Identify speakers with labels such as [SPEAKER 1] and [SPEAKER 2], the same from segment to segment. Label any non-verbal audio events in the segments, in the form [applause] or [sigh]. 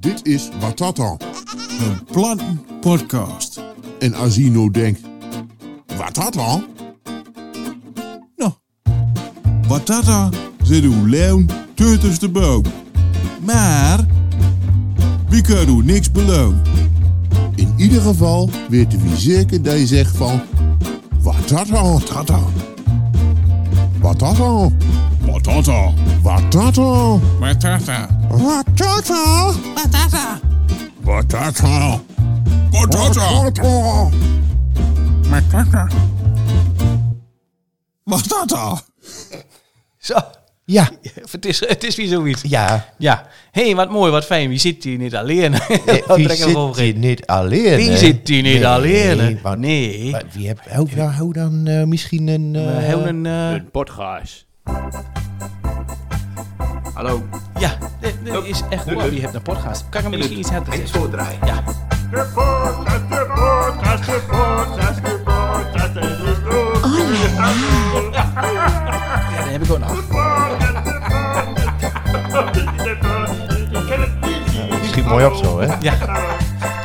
[SPEAKER 1] Dit is Watata.
[SPEAKER 2] Een plantenpodcast.
[SPEAKER 1] En Asino denkt, Watata?
[SPEAKER 2] Nou, Batata zit uw leeuw tussen de boom. Maar, wie kan u niks beloon?
[SPEAKER 1] In ieder geval weten we zeker dat je zegt van, Watata, tata. Watata,
[SPEAKER 2] Batata.
[SPEAKER 1] Watata,
[SPEAKER 2] Batata.
[SPEAKER 1] Watata,
[SPEAKER 2] Batata.
[SPEAKER 1] Watata,
[SPEAKER 2] Batata.
[SPEAKER 1] Watata.
[SPEAKER 2] Batata. Batata.
[SPEAKER 3] Zo.
[SPEAKER 4] Ja,
[SPEAKER 3] Het is, het is weer zoiets.
[SPEAKER 4] ja.
[SPEAKER 3] Ja. Hé, hey, wat mooi, wat fijn. Wie zit hier niet alleen? [laughs] Wat trek
[SPEAKER 4] Wie
[SPEAKER 3] ik hem
[SPEAKER 4] zit hier
[SPEAKER 3] overheen?
[SPEAKER 4] niet alleen?
[SPEAKER 3] Wie
[SPEAKER 4] hè?
[SPEAKER 3] zit hier niet
[SPEAKER 4] Nee,
[SPEAKER 3] alleen? hè?
[SPEAKER 4] want-
[SPEAKER 3] nee.
[SPEAKER 4] maar Wie heb, hou, ja, hou dan eh, misschien een...
[SPEAKER 3] We
[SPEAKER 4] eh,
[SPEAKER 3] hebben een... eh,
[SPEAKER 5] Een podcast. Hallo.
[SPEAKER 3] ja, dit, dit is echt waar. Wie hebt een podcast? Kan ik hem misschien iets harder zeggen?
[SPEAKER 5] zo draaien.
[SPEAKER 3] Ja.
[SPEAKER 6] De podcast, de podcast, de podcast, de podcast, het is goed.
[SPEAKER 3] ja, dat heb ik ook nog.
[SPEAKER 6] De podcast, ik ken het niet.
[SPEAKER 4] Schiet mooi op zo, hè?
[SPEAKER 3] Ja.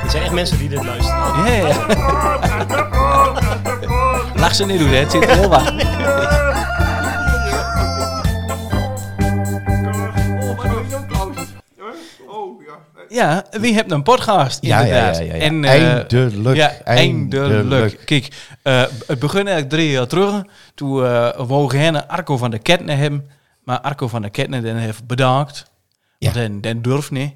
[SPEAKER 7] Er zijn echt mensen die dit luisteren.
[SPEAKER 3] Ja, ja.
[SPEAKER 6] Podcast, de podcast, de podcast.
[SPEAKER 3] Lach ze niet doen, hè. Het zit er heel wat.
[SPEAKER 6] Oh, maar dat is ook oud. Hè? Oh, ja.
[SPEAKER 3] Ja, wie hebt een podcast?
[SPEAKER 4] Ja, ja,
[SPEAKER 3] Inderdaad.
[SPEAKER 4] ja, ja, ja.
[SPEAKER 3] En, eh,
[SPEAKER 4] Eindelijk,
[SPEAKER 3] Ja, eindelijk.
[SPEAKER 4] eindelijk.
[SPEAKER 3] Kijk, eh, het begon eigenlijk drie jaar terug. Toen eh wou Gerne Arco van de Ketne hebben. Maar Arco van de Ketne den heeft bedankt.
[SPEAKER 4] Ja.
[SPEAKER 3] Want den, den durft
[SPEAKER 4] [laughs]
[SPEAKER 3] niet.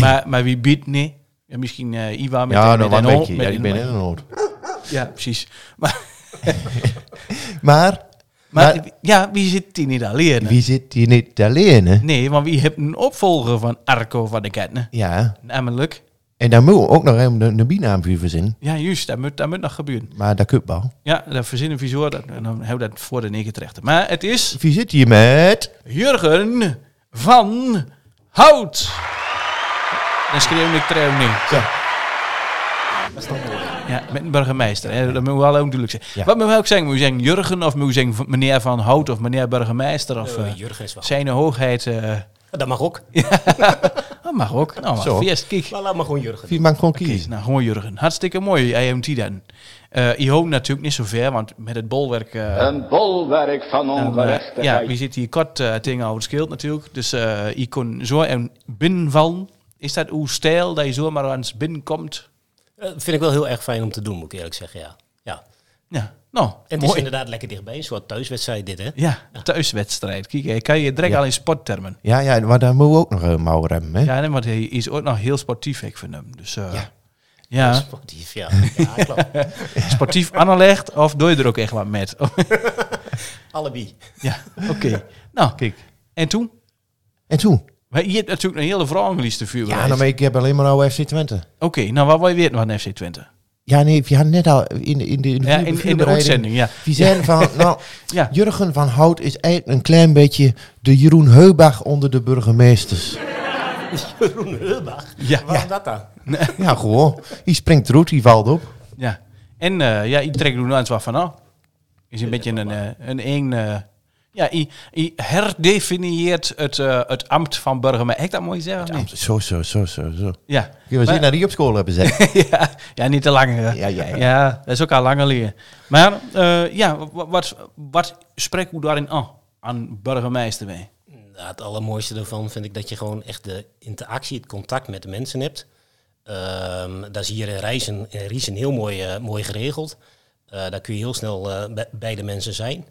[SPEAKER 3] maar, maar wie biedt niet? Ja, misschien eh Iwa met
[SPEAKER 4] Ja,
[SPEAKER 3] den- met
[SPEAKER 4] nou, wat
[SPEAKER 3] den
[SPEAKER 4] ben
[SPEAKER 3] hond,
[SPEAKER 4] je?
[SPEAKER 3] met
[SPEAKER 4] Ja,
[SPEAKER 3] den-
[SPEAKER 4] ik ben in een hoort.
[SPEAKER 3] Ja, precies. Maar,
[SPEAKER 4] Maar,
[SPEAKER 3] maar,
[SPEAKER 4] maar
[SPEAKER 3] ja, wie zit die niet alleen?
[SPEAKER 4] wie zit hier niet alleen, hè?
[SPEAKER 3] Nee, want wie heeft een opvolger van Arco van de Ketne?
[SPEAKER 4] Ja,
[SPEAKER 3] Namelijk,
[SPEAKER 4] en daar moet ook nog even een, een bijnaam voor verzinnen.
[SPEAKER 3] ja juist, dat moet, dat moet nog gebeuren.
[SPEAKER 4] Maar dat kun je wel.
[SPEAKER 3] Ja, dat verzinnen we zo. Dat, en dan houden we dat voor de negen terecht. Maar het is
[SPEAKER 4] Wie zit hier met...
[SPEAKER 3] Jurgen van Hout. Dan schreeuw ik trouw niet.
[SPEAKER 4] Zo.
[SPEAKER 3] Ja, met een burgemeester. Hè. Dat moet wel ook duidelijk zijn.
[SPEAKER 4] Ja.
[SPEAKER 3] Wat moet ik ook zeggen? Moet ik zeggen Jurgen of moet ik zeggen van- meneer van Hout of meneer burgemeester? Of
[SPEAKER 7] Eh,
[SPEAKER 3] eh,
[SPEAKER 7] Jurgen is wel.
[SPEAKER 3] zijn hoogheid. eh,
[SPEAKER 7] Dat mag ook.
[SPEAKER 3] dat mag ook. Nou,
[SPEAKER 4] Zo.
[SPEAKER 3] maar eerst kijk.
[SPEAKER 7] Maar laat maar gewoon Jurgen.
[SPEAKER 4] Wie mag gewoon kiezen?
[SPEAKER 3] Nou, gewoon Jurgen. Hartstikke mooi, IMT dan. Eh ik hoop natuurlijk niet zo ver, want met het bolwerk... eh,
[SPEAKER 8] Een bolwerk van
[SPEAKER 3] Dan, eh,
[SPEAKER 8] ongerechtigheid.
[SPEAKER 3] ja, wie zit hier kort eh tegen over het schild natuurlijk. Dus eh je kon zo en binnenvallen. Is dat uw stijl dat je zomaar aan het binnenkomt?
[SPEAKER 7] Eh, vind ik wel heel erg fijn om te doen, moet ik eerlijk zeggen. Ja. ja.
[SPEAKER 3] Ja, nou,
[SPEAKER 7] En het is
[SPEAKER 3] mooi.
[SPEAKER 7] inderdaad lekker dichtbij. Een soort thuiswedstrijd dit, hè?
[SPEAKER 3] Ja, thuiswedstrijd. Kijk, eh, kan je direct al in sporttermen.
[SPEAKER 4] Ja, ja, maar daar moeten we ook nog een mouw remmen, hè?
[SPEAKER 3] Ja, nee, want hij is ook nog heel sportief, ik vind hem. Dus eh, ja,
[SPEAKER 7] Sportief, ja.
[SPEAKER 3] [laughs]
[SPEAKER 7] Ja, klopt.
[SPEAKER 3] sportief [laughs] aangelegd of doe je er ook echt wat
[SPEAKER 7] [laughs]
[SPEAKER 3] met?
[SPEAKER 7] Allebei.
[SPEAKER 3] ja, oké. Nou,
[SPEAKER 4] Kijk.
[SPEAKER 3] en toen?
[SPEAKER 4] En toen?
[SPEAKER 3] Maar je hebt natuurlijk een hele vragenlijst te vuur.
[SPEAKER 4] Ja,
[SPEAKER 3] bereid.
[SPEAKER 4] nou, maar ik heb alleen maar oude FC Twente.
[SPEAKER 3] Oké, nou wat wil je weten van FC Twente?
[SPEAKER 4] Ja, nee, we hadden net al in, in de, in de,
[SPEAKER 3] Ja, in- in de
[SPEAKER 4] voorbereiding-
[SPEAKER 3] uitzending, ja.
[SPEAKER 4] We zijn van,
[SPEAKER 3] [laughs]
[SPEAKER 4] nou,
[SPEAKER 3] Ja.
[SPEAKER 4] Jurgen van Hout is eigenlijk een klein beetje de Jeroen Heubach onder de
[SPEAKER 3] [laughs]
[SPEAKER 4] burgemeesters.
[SPEAKER 7] Jeroen Heubach.
[SPEAKER 3] Ja.
[SPEAKER 7] Waarom dat dan?
[SPEAKER 4] Ja, gewoon. Die springt eruit, die valt op.
[SPEAKER 3] Ja. En eh, ja, ik trek er nou eens wat van af. Is een beetje een, eh, een eng... eh, ja, i i herdefinieert het, eh, het ambt van burgemeester. Heb ik dat mooi zeggen? Nee.
[SPEAKER 4] Zo, zo, zo, zo, zo.
[SPEAKER 3] Ja.
[SPEAKER 4] Je was
[SPEAKER 3] Maar-
[SPEAKER 4] hier naar die op school hebben gezegd.
[SPEAKER 3] [laughs] ja. Ja, niet te lang. hè.
[SPEAKER 4] Ja, ja, ja.
[SPEAKER 3] dat is ook al langer leren. Maar eh, ja, wa- wa- wat, wat spreekt u daarin aan? Aan burgemeester mee?
[SPEAKER 7] Nou, het allermooiste daarvan vind ik dat je gewoon echt de interactie, het contact met de mensen hebt. Ehm dat is hier in Rijzen, in Riesen heel mooi, eh, mooi geregeld. Eh, daar kun je heel snel eh, bij- bij de mensen zijn.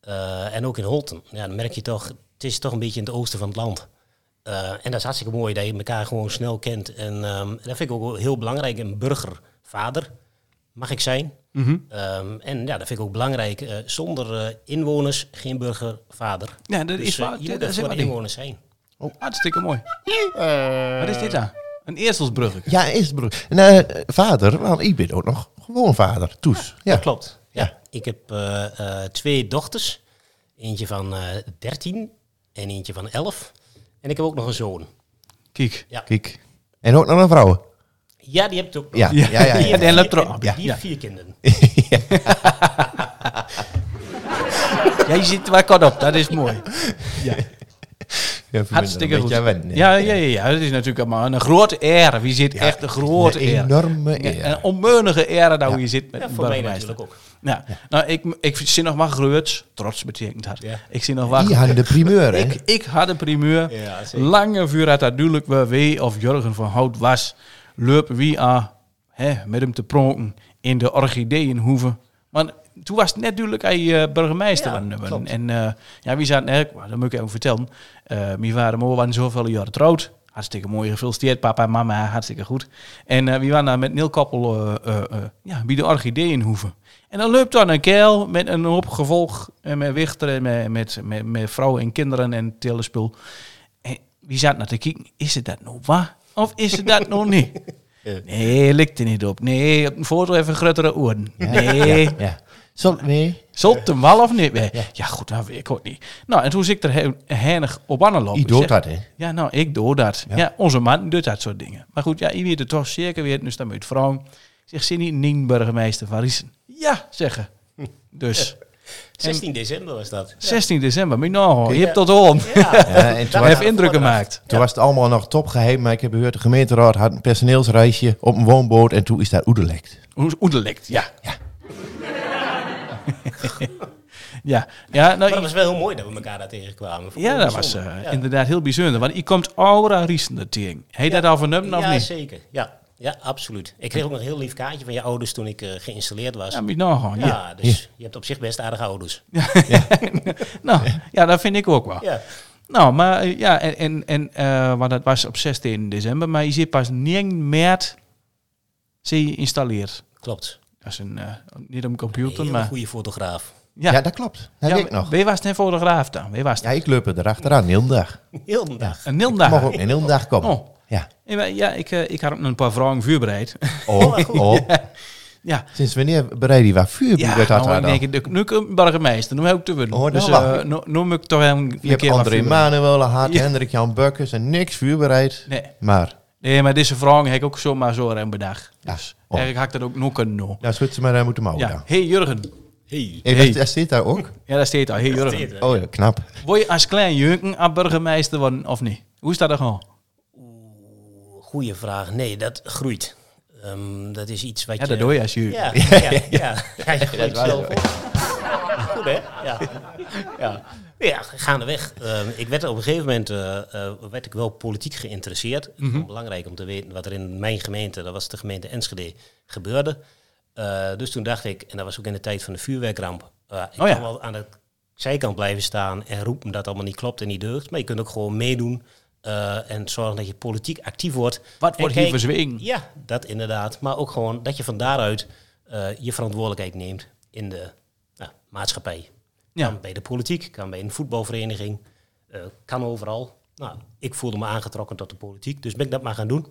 [SPEAKER 7] Eh, en ook in Holten. Ja, dan merk je toch, het is toch een beetje in het oosten van het land. Eh, en dat is hartstikke mooi dat je elkaar gewoon snel kent. En ehm, dat vind ik ook wel heel belangrijk. Een burgervader mag ik zijn.
[SPEAKER 3] Mhm.
[SPEAKER 7] Ehm, en ja, dat vind ik ook belangrijk. Eh, zonder eh, inwoners geen burgervader.
[SPEAKER 3] Ja, dat
[SPEAKER 7] Dus,
[SPEAKER 3] is
[SPEAKER 7] eh,
[SPEAKER 3] waar.
[SPEAKER 7] je
[SPEAKER 3] Ja,
[SPEAKER 7] moet
[SPEAKER 3] dat
[SPEAKER 7] er
[SPEAKER 3] is
[SPEAKER 7] voor de
[SPEAKER 3] helemaal
[SPEAKER 7] inwoners zijn.
[SPEAKER 3] Hartstikke mooi. Wat is dit dan? Een eerstelsbrugger.
[SPEAKER 4] [laughs] Ja, is het broer. Nou, eh, vader, want ik ben ook nog gewoon vader. Toes. Ja,
[SPEAKER 7] Klopt. Ja.
[SPEAKER 4] Ja.
[SPEAKER 7] Ik heb eh, eh, twee dochters. Eentje van eh 13 en eentje van 11. En ik heb ook nog een zoon.
[SPEAKER 3] Kijk.
[SPEAKER 4] Kijk. En ook nog een vrouw.
[SPEAKER 7] Ja, die heb ik ook nog.
[SPEAKER 4] Ja, ja, ja. ja,
[SPEAKER 7] Die
[SPEAKER 4] ja.
[SPEAKER 7] heeft
[SPEAKER 3] En loopt
[SPEAKER 7] vier-
[SPEAKER 3] erop. Ja,
[SPEAKER 7] Die
[SPEAKER 3] ja.
[SPEAKER 7] heeft vier kinderen.
[SPEAKER 3] Jij zit er wel kort op, dat is mooi. Ja.
[SPEAKER 4] Ja,
[SPEAKER 3] Hartstikke goed.
[SPEAKER 4] Ja,
[SPEAKER 3] ja, ja, ja, ja, dat is natuurlijk allemaal een grote eer. Wie zit echt een grote
[SPEAKER 4] een
[SPEAKER 3] eer?
[SPEAKER 4] enorme eer.
[SPEAKER 3] Een onmeunige eer dat hoe je zit met
[SPEAKER 7] Ja,
[SPEAKER 3] een
[SPEAKER 7] voor mij
[SPEAKER 3] burgemeester.
[SPEAKER 7] natuurlijk ook.
[SPEAKER 3] Ja. Nou, ik, ik zie nog maar greuts. Trots betekent dat.
[SPEAKER 7] Ja.
[SPEAKER 3] Ik zie nog wat. [laughs]
[SPEAKER 4] Die hadden de primeur, hè?
[SPEAKER 3] Ik, ik had een primeur.
[SPEAKER 7] Ja, zeker.
[SPEAKER 3] Lange vuur had natuurlijk wel wie of Jurgen van Hout was. Leuk wie aan hè, met hem te pronken in de orchideeënhoeve. Maar toen was het net duidelijk hij eh, burgemeester.
[SPEAKER 7] Ja,
[SPEAKER 3] van Nubben.
[SPEAKER 7] klopt.
[SPEAKER 3] en eh, ja, wie zaten er? Dat moet ik even vertellen. Eh wie waren mooi, waren zoveel jaren trouwd. Hartstikke mooi gefeliciteerd, papa en mama, hartstikke goed. En eh, wie waren daar met Neil Koppel eh, eh, eh, ja, bij de orchideeënhoeve. En dan loopt dan een kerel met een hoop gevolg. En met wichter en met, met, met, met vrouwen en kinderen en telespul. En wie zat naar te kijken? Is het dat nou waar? Of is het dat nog
[SPEAKER 4] [laughs]
[SPEAKER 3] niet? Nee, likt er niet op. Nee, op een foto even grotere oren. Nee,
[SPEAKER 4] [laughs] Ja. Zal, nee,
[SPEAKER 3] zult hem wel of niet? Nee. Ja, goed, dat weet ik ook niet. Nou, en toen zit ik er he- heinig op aan lopen.
[SPEAKER 4] die doet dat, hè?
[SPEAKER 3] Ja, nou, ik doe dat. Ja, onze man doet dat soort dingen. Maar goed, ja, je weet het toch zeker weer. Dus dan moet je het vragen. Zegt ze niet, Nien burgemeester van Riesen. Ja, zeggen.
[SPEAKER 4] [laughs]
[SPEAKER 3] Dus,
[SPEAKER 7] 16 december was dat.
[SPEAKER 3] 16 december, maar nou, je hebt tot om. [laughs]
[SPEAKER 4] Ja, Eh, en toen,
[SPEAKER 3] Hij
[SPEAKER 4] was,
[SPEAKER 3] heeft indruk gemaakt.
[SPEAKER 4] toen was het allemaal nog topgeheim, maar ik heb gehoord, de gemeenteraad had een personeelsreisje op een woonboot en toen is daar oedelekt.
[SPEAKER 3] Oe- Oedelekt, ja. Ja, [laughs] ja. ja nou,
[SPEAKER 7] Maar dat was wel heel mooi dat we elkaar daar tegenkwamen. Vond ik
[SPEAKER 3] Ja,
[SPEAKER 7] heel
[SPEAKER 3] dat was
[SPEAKER 7] bijzonder.
[SPEAKER 3] eh,
[SPEAKER 7] Ja.
[SPEAKER 3] inderdaad heel bijzonder. Want je komt aura riesende tegen. Heet dat al van hem of
[SPEAKER 7] ja,
[SPEAKER 3] niet?
[SPEAKER 7] zeker. Ja. ja, absoluut. Ik kreeg ook nog een heel lief kaartje van je ouders toen ik eh, geïnstalleerd was.
[SPEAKER 3] Ja,
[SPEAKER 7] Ja,
[SPEAKER 3] moet je nou gewoon. Ja.
[SPEAKER 7] dus je hebt op zich best aardige ouders.
[SPEAKER 3] [laughs] Nou, ja, dat vind ik ook wel.
[SPEAKER 7] Ja,
[SPEAKER 3] Nou, maar eh, ja, en, en, en eh, want dat was op 16 december. Maar je zit pas 9 maart, zie je installeerd.
[SPEAKER 7] klopt.
[SPEAKER 3] Dat is een, eh, niet een
[SPEAKER 7] Een
[SPEAKER 3] computer,
[SPEAKER 7] hele
[SPEAKER 3] maar...
[SPEAKER 7] goede fotograaf. [laughs]
[SPEAKER 4] Ja,
[SPEAKER 3] Ja,
[SPEAKER 4] dat klopt. Dat weet ik nog.
[SPEAKER 3] Wie was het een fotograaf dan? Wie was
[SPEAKER 4] Ja,
[SPEAKER 3] het?
[SPEAKER 4] ik loop er achteraan, heel de dag.
[SPEAKER 7] Heel de dag.
[SPEAKER 3] Een Nilda.
[SPEAKER 4] Mag ook een heel de dag komen.
[SPEAKER 3] Nou. Oh.
[SPEAKER 4] Ja.
[SPEAKER 3] Ja, maar- Ja, ik, eh, ik had ook nog een paar vragen voorbereid. [laughs]
[SPEAKER 4] Oh, oh.
[SPEAKER 3] ja,
[SPEAKER 4] Sinds wanneer bereid je waar vuur
[SPEAKER 3] ja
[SPEAKER 4] bij dat had
[SPEAKER 3] nou,
[SPEAKER 4] daar
[SPEAKER 3] ik
[SPEAKER 4] dan?
[SPEAKER 3] denk, ik, nu kan ik burgemeester, nu heb ik te winnen.
[SPEAKER 4] Oh, nou,
[SPEAKER 3] dus
[SPEAKER 4] wacht.
[SPEAKER 3] eh, nu, nu moet ik toch wel een,
[SPEAKER 4] Je
[SPEAKER 3] een
[SPEAKER 4] hebt
[SPEAKER 3] keer wat
[SPEAKER 4] André
[SPEAKER 3] voorbereid.
[SPEAKER 4] Manuel, Haat,
[SPEAKER 3] Ja.
[SPEAKER 4] Hendrik, Jan Bukkers en niks vuurbereid.
[SPEAKER 3] Nee.
[SPEAKER 4] Maar,
[SPEAKER 3] Nee, maar deze vraag heb ik ook zomaar zo aan bedacht.
[SPEAKER 4] Ja.
[SPEAKER 3] Dus
[SPEAKER 4] Oh.
[SPEAKER 3] eigenlijk had ik dat ook nog kunnen doen.
[SPEAKER 4] nou schut ze maar daar moeten mouwen
[SPEAKER 3] Ja.
[SPEAKER 4] dan.
[SPEAKER 3] Hey Jurgen.
[SPEAKER 4] Hey,
[SPEAKER 3] Hey.
[SPEAKER 4] dat- Dat zit daar
[SPEAKER 3] [laughs]
[SPEAKER 4] ook.
[SPEAKER 3] Ja, daar staat al. Hey Jurgen.
[SPEAKER 4] Oh, ja, knap.
[SPEAKER 3] Word je als klein jurken aan burgemeester worden of niet? Hoe is dat er gewoon?
[SPEAKER 7] Goeie vraag. Nee, dat groeit. Ehm, dat is iets wat
[SPEAKER 3] Ja,
[SPEAKER 7] je...
[SPEAKER 3] dat
[SPEAKER 4] eh,
[SPEAKER 3] doe je als jurken.
[SPEAKER 7] Ja,
[SPEAKER 3] [laughs]
[SPEAKER 7] ja, ja. ja. ja je groeit zelf op. Goed, hè? Ja. Ja, ja gaandeweg. Ehm, ik werd op een gegeven moment eh, eh, werd ik wel politiek geïnteresseerd. Ik
[SPEAKER 3] Mhm.
[SPEAKER 7] vond het Belangrijk om te weten wat er in mijn gemeente, dat was de gemeente Enschede, gebeurde. Eh, dus toen dacht ik, en dat was ook in de tijd van de vuurwerkramp. eh, ik
[SPEAKER 3] Oh ja.
[SPEAKER 7] kan wel aan de zijkant blijven staan en roepen dat allemaal niet klopt en niet deugt. Maar je kunt ook gewoon meedoen eh, en zorgen dat je politiek actief wordt.
[SPEAKER 3] Wat
[SPEAKER 7] En
[SPEAKER 3] wordt hier
[SPEAKER 7] kijk,
[SPEAKER 3] verzwegen?
[SPEAKER 7] ja, dat inderdaad. Maar ook gewoon dat je van daaruit eh, je verantwoordelijkheid neemt in de nou, maatschappij.
[SPEAKER 3] Ja.
[SPEAKER 7] Kan bij de politiek, kan bij een voetbalvereniging, eh, kan overal. Nou, ik voelde me aangetrokken tot de politiek, dus ben ik dat maar gaan doen.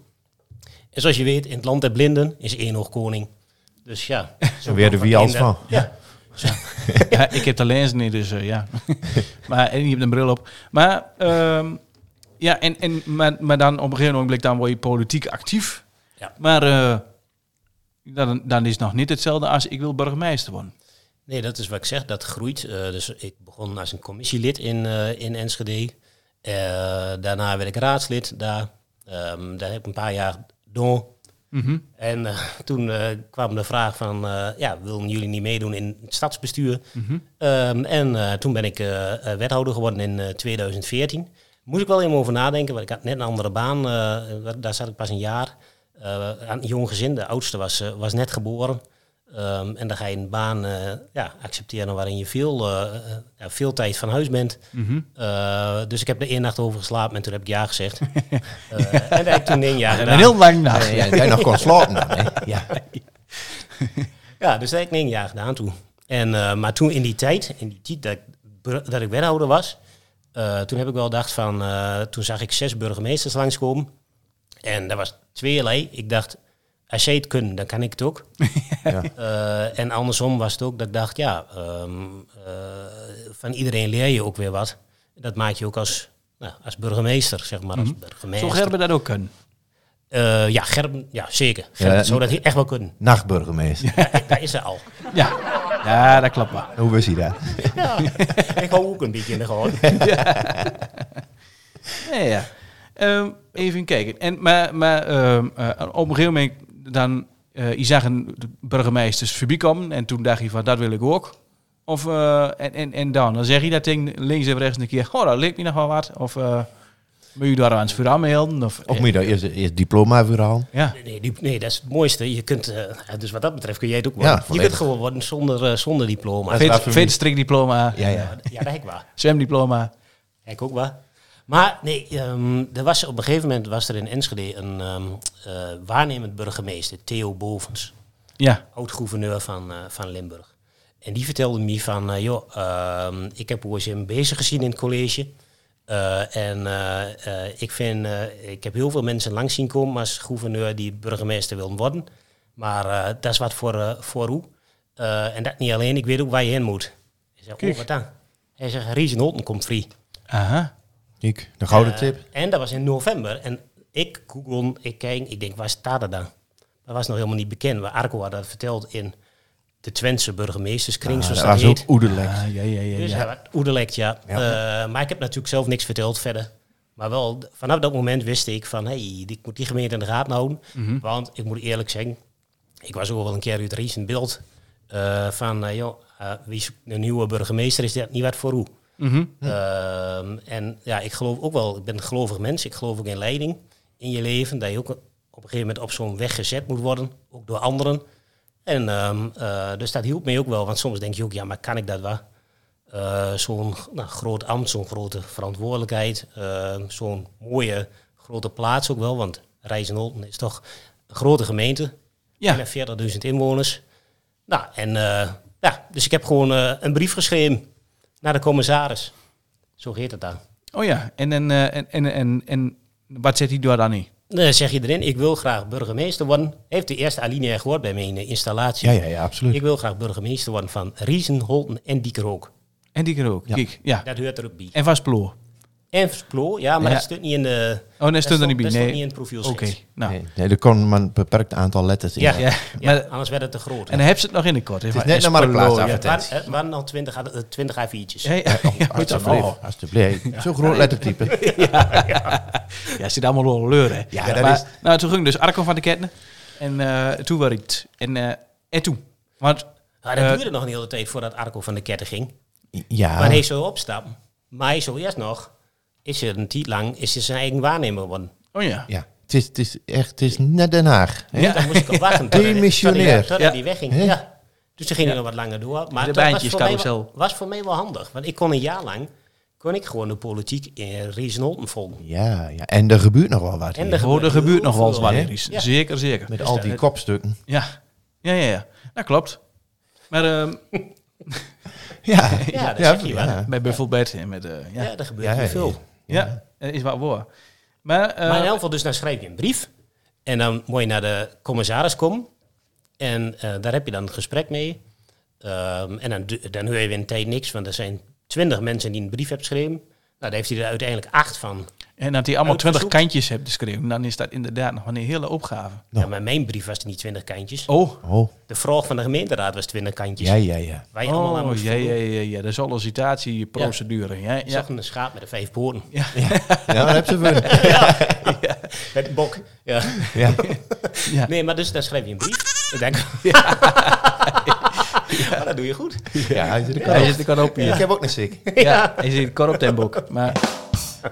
[SPEAKER 7] En zoals je weet, in het land der blinden is één oog koning.
[SPEAKER 4] [laughs]
[SPEAKER 7] Dus ja. Zo
[SPEAKER 4] weer de wie als
[SPEAKER 7] inder-
[SPEAKER 4] van.
[SPEAKER 7] Ja,
[SPEAKER 3] Ja, ik heb de lens niet, dus eh, ja. [laughs] maar, en je hebt een bril op. Maar, ehm, ja, en, en, maar, maar dan op een gegeven moment dan word je politiek actief.
[SPEAKER 7] Ja.
[SPEAKER 3] Maar eh, dan, dan is het nog niet hetzelfde als ik wil burgemeester worden.
[SPEAKER 7] nee, dat is wat ik zeg, dat groeit. Eh, dus ik begon als een commissielid in, eh, in Enschede. Eh, daarna werd ik raadslid daar. Ehm, daar heb ik een paar jaar door En eh, toen eh, kwam de vraag van, eh, ja, willen jullie niet meedoen in het stadsbestuur? Ehm, en eh, toen ben ik eh, eh, wethouder geworden in eh, 2014. Moest ik wel even over nadenken, want ik had net een andere baan. eh, wa- daar zat ik pas een jaar. Eh, aan een jong gezin, de oudste was, eh, was net geboren. Ehm, en dan ga je een baan eh, ja, accepteren waarin je veel, eh, eh, ja, veel tijd van huis bent. Eh, dus ik heb er één nacht over geslapen en toen heb ik ja gezegd. Eh, en dat heb ik toen één jaar
[SPEAKER 3] En
[SPEAKER 7] gedaan. Eh,
[SPEAKER 3] een heel lang nacht.
[SPEAKER 4] Ja, jij nog kon slapen dan, hè? Ja.
[SPEAKER 7] Ja, dus dat heb ik negen jaar gedaan toen. En, eh, maar toen in die tijd, in die tijd dat ik, bur- dat ik wethouder was, eh, toen heb ik wel gedacht van, eh, toen zag ik zes burgemeesters langskomen. En dat was tweeënlei. Ik dacht, als zij het kunnen, dan kan ik het ook. Eh, en andersom was het ook dat ik dacht, ja, ehm, eh, van iedereen leer je ook weer wat. Dat maak je ook als, nou, als burgemeester, zeg maar. Als
[SPEAKER 3] Zo
[SPEAKER 7] burgemeester.
[SPEAKER 3] Gerben dat ook kunnen.
[SPEAKER 7] Eh, ja, Gerben, ja, zeker. Gerben
[SPEAKER 4] Ja,
[SPEAKER 7] zou dat echt wel kunnen.
[SPEAKER 4] Nachtburgemeester.
[SPEAKER 7] Daar is ze al.
[SPEAKER 3] Ja. ja, dat klopt wel.
[SPEAKER 4] Hoe was hij dat?
[SPEAKER 7] Ja, ik hou ook een beetje in de gewoon.
[SPEAKER 3] Ja, ja. Ehm, even kijken. En, maar maar ehm, eh, op een gegeven moment dan, eh je zag een de burgemeesters voorbij komen en toen dacht je van dat wil ik ook. Of, eh, en, en, en dan, dan zeg je dat tegen links en rechts een keer, oh dat leek me nog wel wat. Of eh moet je daar aan het vuur aanmelden? Of,
[SPEAKER 4] Of moet je daar eerst, eerst diploma voor halen?
[SPEAKER 3] ja.
[SPEAKER 7] Nee, die- nee, dat is het mooiste. Je kunt, eh, dus wat dat betreft kun jij het ook
[SPEAKER 4] Ja,
[SPEAKER 7] worden. je
[SPEAKER 4] volledig.
[SPEAKER 7] kunt gewoon worden zonder, eh, zonder diploma.
[SPEAKER 4] is waar
[SPEAKER 3] Vet-
[SPEAKER 4] voor
[SPEAKER 3] Vetstrikdiploma,
[SPEAKER 4] Ja, ja.
[SPEAKER 7] Ja, dat heb ik waar.
[SPEAKER 3] zwemdiploma.
[SPEAKER 7] Ik ook wel. Maar nee, ehm, er was, op een gegeven moment was er in Enschede een ehm, eh, waarnemend burgemeester, Theo Bovens,
[SPEAKER 3] Ja,
[SPEAKER 7] oud-gouverneur van, eh, van Limburg. En die vertelde me van, eh, joh, ehm, ik heb OSM bezig gezien in het college. Eh, en eh, eh, ik vind, eh, ik heb heel veel mensen langs zien komen als gouverneur die burgemeester wil worden. Maar eh, dat is wat voor, eh, voor u. Eh, en dat niet alleen, ik weet ook waar je heen moet. Ik zeg, oh,
[SPEAKER 3] Kijk.
[SPEAKER 7] wat dan? Hij zegt, Reason Holten komt free.
[SPEAKER 3] aha.
[SPEAKER 4] Ik, de gouden
[SPEAKER 7] Eh,
[SPEAKER 4] tip.
[SPEAKER 7] En dat was in november. En ik google, ik kijk, ik denk, waar staat dat dan? Dat was nog helemaal niet bekend. Maar Arco had dat verteld in de Twentse burgemeesterskring,
[SPEAKER 4] Ah,
[SPEAKER 7] zoals
[SPEAKER 4] dat
[SPEAKER 7] dat
[SPEAKER 4] was
[SPEAKER 7] heet.
[SPEAKER 4] ook oederlijk.
[SPEAKER 3] Ah, ja, ja, ja,
[SPEAKER 7] Dus
[SPEAKER 3] ja.
[SPEAKER 7] hij was oederlijk, ja. Eh, maar ik heb natuurlijk zelf niks verteld verder. Maar wel, d- vanaf dat moment wist ik van, hé, hey, ik moet die gemeente in de gaten houden.
[SPEAKER 3] Mhm.
[SPEAKER 7] Want ik moet eerlijk zeggen, ik was ook wel een keer uit Ries in beeld. eh, van, eh, joh, eh, wie zoekt een nieuwe burgemeester, is dat niet wat voor hoe?
[SPEAKER 3] Mhm.
[SPEAKER 7] Ehm, en ja, ik geloof ook wel, ik ben een gelovig mens, ik geloof ook in leiding in je leven, dat je ook op een gegeven moment op zo'n weg gezet moet worden, ook door anderen. En ehm, eh, dus dat hielp mij ook wel, want soms denk je ook, ja, maar kan ik dat wel? Eh, zo'n nou, groot ambt, zo'n grote verantwoordelijkheid, ehm, zo'n mooie grote plaats ook wel, want Rijzenholten is toch een grote gemeente,
[SPEAKER 3] Ja,
[SPEAKER 7] bijna 40.000 inwoners. Nou, en eh, ja, dus ik heb gewoon eh, een brief geschreven naar de commissaris. Zo heet het dan.
[SPEAKER 3] oh ja. En, en, eh, en, en, en, en wat zet hij daar dan in?
[SPEAKER 7] Dan zeg je erin, ik wil graag burgemeester worden. Heeft de eerste alinea gehoord bij mijn eh, installatie.
[SPEAKER 4] Ja, ja, ja, absoluut.
[SPEAKER 7] Ik wil graag burgemeester worden van Riesen, Holten en Diekerhoek.
[SPEAKER 3] En die keer ook, kijk. Ja.
[SPEAKER 7] Dat hoort er ook bij.
[SPEAKER 3] En was ploor.
[SPEAKER 7] En Versploor, ja, maar
[SPEAKER 3] Ja.
[SPEAKER 7] dat stond niet in de...
[SPEAKER 3] Oh, nee, stond er niet bij.
[SPEAKER 7] dat stond
[SPEAKER 3] Nee.
[SPEAKER 7] niet in het profiel.
[SPEAKER 3] Oké, nou.
[SPEAKER 4] Nee, nee, er kon maar een beperkt aantal letters in.
[SPEAKER 7] Ja,
[SPEAKER 4] Ja.
[SPEAKER 3] Ja,
[SPEAKER 7] ja.
[SPEAKER 3] maar-
[SPEAKER 7] anders werd het te groot.
[SPEAKER 3] En dan heb ze het nog in de kort. Het
[SPEAKER 4] is net naar
[SPEAKER 7] het
[SPEAKER 4] Marktplaats
[SPEAKER 7] waren, het waren al 20 ad- eh, 20 A4'tjes.
[SPEAKER 3] Ja, ja, ja, moet je
[SPEAKER 4] Alsjeblieft,
[SPEAKER 7] Oh.
[SPEAKER 3] wel.
[SPEAKER 7] [laughs]
[SPEAKER 4] alsjeblieft. Zo'n groot lettertype.
[SPEAKER 3] Ja, zit allemaal wel leur, hè.
[SPEAKER 4] Ja, dat
[SPEAKER 3] Maar,
[SPEAKER 4] is-
[SPEAKER 3] Nou, toen ging dus Arco van de Ketten. En eh, toen was het. En, eh, en toen. Want,
[SPEAKER 7] Maar dat
[SPEAKER 3] eh, Ah.
[SPEAKER 7] duurde nog een hele tijd voordat Arco van de ketten ging.
[SPEAKER 4] Ja,
[SPEAKER 7] Maar hij zou opstappen. Maar hij zou eerst nog, is er een tijd lang, is hij zijn eigen waarnemer geworden.
[SPEAKER 3] oh ja.
[SPEAKER 4] ja. Het, is, het is echt, het is net Den Haag. hè?
[SPEAKER 7] Ja. Dan moest ik op
[SPEAKER 4] [laughs]
[SPEAKER 7] wachten. tot hij-
[SPEAKER 4] Demissionair.
[SPEAKER 7] tot hij- Totdat
[SPEAKER 3] Ja.
[SPEAKER 7] hij wegging.
[SPEAKER 4] Hè?
[SPEAKER 7] Ja. Dus toen ging hij nog wat langer door. Maar
[SPEAKER 3] De
[SPEAKER 7] dat was
[SPEAKER 3] baantjes
[SPEAKER 7] voor, mij
[SPEAKER 3] carousel.
[SPEAKER 7] wel, was voor mij wel handig. Want ik kon een jaar lang, kon ik gewoon de politiek in Riesenholten volgen.
[SPEAKER 4] Ja, ja, en er gebeurt nog wel wat.
[SPEAKER 7] En
[SPEAKER 4] hier.
[SPEAKER 7] er dus
[SPEAKER 3] Oh, er gebeurt nog wel eens wat,
[SPEAKER 7] heel
[SPEAKER 3] Iris.
[SPEAKER 7] veel, hè? Ja.
[SPEAKER 3] Zeker, zeker.
[SPEAKER 4] Met al die kopstukken.
[SPEAKER 3] Ja. Ja, ja, ja. Dat klopt. Maar ehm,
[SPEAKER 4] Ja,
[SPEAKER 7] Ja, [laughs] dat zeg je wel.
[SPEAKER 3] bij Buffelbed en met... eh, ja.
[SPEAKER 7] Ja,
[SPEAKER 3] Ja.
[SPEAKER 7] er gebeurt
[SPEAKER 4] Ja,
[SPEAKER 7] heel
[SPEAKER 4] ja,
[SPEAKER 7] veel.
[SPEAKER 3] dat is wat voor. Maar, eh,
[SPEAKER 7] Maar in elk geval, dus dan schrijf je een brief. En dan moet je naar de commissaris komen. En eh, daar heb je dan een gesprek mee. Ehm, en dan, du- dan hoor je weer een tijd niks, want er zijn twintig mensen die een brief hebben geschreven. Nou, daar heeft hij er uiteindelijk acht van.
[SPEAKER 3] en dat hij allemaal twintig
[SPEAKER 7] uitgezocht.
[SPEAKER 3] kantjes hebt geschreven, dan is dat inderdaad nog een hele opgave.
[SPEAKER 4] Nou.
[SPEAKER 7] Ja, maar mijn brief was er niet twintig kantjes.
[SPEAKER 3] Oh,
[SPEAKER 4] Oh,
[SPEAKER 7] De vraag van de gemeenteraad was twintig kantjes.
[SPEAKER 4] ja, ja, ja.
[SPEAKER 7] Wij allemaal aan
[SPEAKER 3] oh
[SPEAKER 7] moesten
[SPEAKER 3] ja,
[SPEAKER 7] voldoen.
[SPEAKER 3] ja, ja, ja. De sollicitatieprocedure. Ja, ja.
[SPEAKER 7] Ik zag een schaap met de vijf poorten.
[SPEAKER 4] Ja, dat heb ze
[SPEAKER 7] [laughs]
[SPEAKER 4] voor.
[SPEAKER 7] Met een bok. Ja.
[SPEAKER 4] Ja.
[SPEAKER 3] Ja.
[SPEAKER 7] Nee, maar dus dan schrijf je een brief. Ik denk, [laughs] Maar dat doe je goed.
[SPEAKER 4] ja, hij zit er
[SPEAKER 3] Ja,
[SPEAKER 4] klaar
[SPEAKER 3] hij
[SPEAKER 4] op.
[SPEAKER 3] zit er gewoon op hier.
[SPEAKER 4] Ik heb ook een ziek.
[SPEAKER 3] Ja, hij zit kort op den boek. Maar,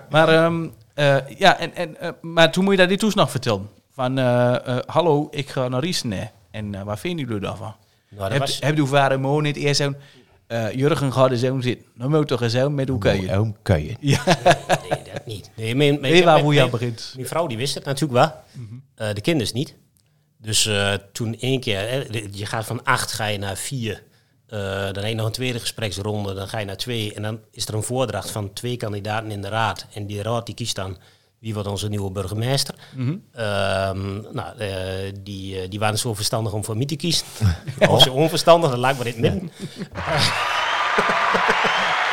[SPEAKER 3] maar, ehm, eh, ja, en, en, eh, maar toen moet je dat dit toes nog vertellen. Van, eh, eh, hallo, ik ga naar Riesene. En eh, waar vinden jullie daarvan?
[SPEAKER 7] Nou, dat
[SPEAKER 3] Heb,
[SPEAKER 7] was,
[SPEAKER 3] heb je vader Mo niet eerst zo'n... eh, Jurgen gaat er zo zitten. Dan moet je toch zo met elkaar.
[SPEAKER 4] Oké.
[SPEAKER 3] je.
[SPEAKER 4] Oom Kuijen.
[SPEAKER 7] nee, dat niet. Nee, mijn, mijn,
[SPEAKER 3] Weet je waar
[SPEAKER 7] mijn-
[SPEAKER 3] hoe je aan
[SPEAKER 7] mijn-
[SPEAKER 3] begint?
[SPEAKER 7] Mijn vrouw die wist het natuurlijk wel. Eh, de kinders niet. Dus eh, toen één keer, hè, de- je gaat van acht ga je naar vier. Eh, dan heb je nog een tweede gespreksronde, dan ga je naar twee. En dan is er een voordracht van twee kandidaten in de raad. En die raad die kiest dan wie wordt onze nieuwe burgemeester.
[SPEAKER 3] Mhm.
[SPEAKER 7] Ehm, nou, eh, die, eh, die waren zo verstandig om voor mij te kiezen.
[SPEAKER 3] [laughs]
[SPEAKER 7] Of zo onverstandig, dat laat maar in het midden.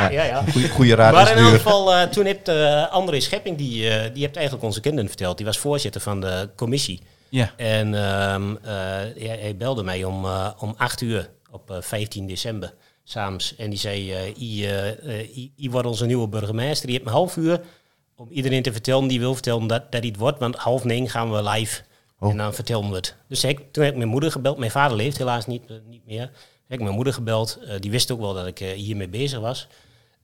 [SPEAKER 7] [laughs] ja, ja.
[SPEAKER 4] Goeie, goeie raad
[SPEAKER 7] Maar
[SPEAKER 4] is
[SPEAKER 7] in elk
[SPEAKER 4] duur.
[SPEAKER 7] geval, eh, toen heeft eh André Schepping, die, eh, die heeft eigenlijk onze kinderen verteld. Die was voorzitter van de commissie.
[SPEAKER 3] Ja.
[SPEAKER 7] En ehm, eh, hij, hij belde mij om, eh, om 8 uur op eh, 15 december s'avonds. En die zei, eh, I, eh, eh, I, I wordt onze nieuwe burgemeester. Die heeft een half uur om iedereen te vertellen die wil vertellen dat, dat hij het wordt. Want half negen gaan we live
[SPEAKER 4] Oh.
[SPEAKER 7] en dan vertellen we het. Dus ik, toen heb ik mijn moeder gebeld. Mijn vader leeft helaas niet, eh, niet meer. Heb ik mijn moeder gebeld. eh, die wist ook wel dat ik eh, hiermee bezig was.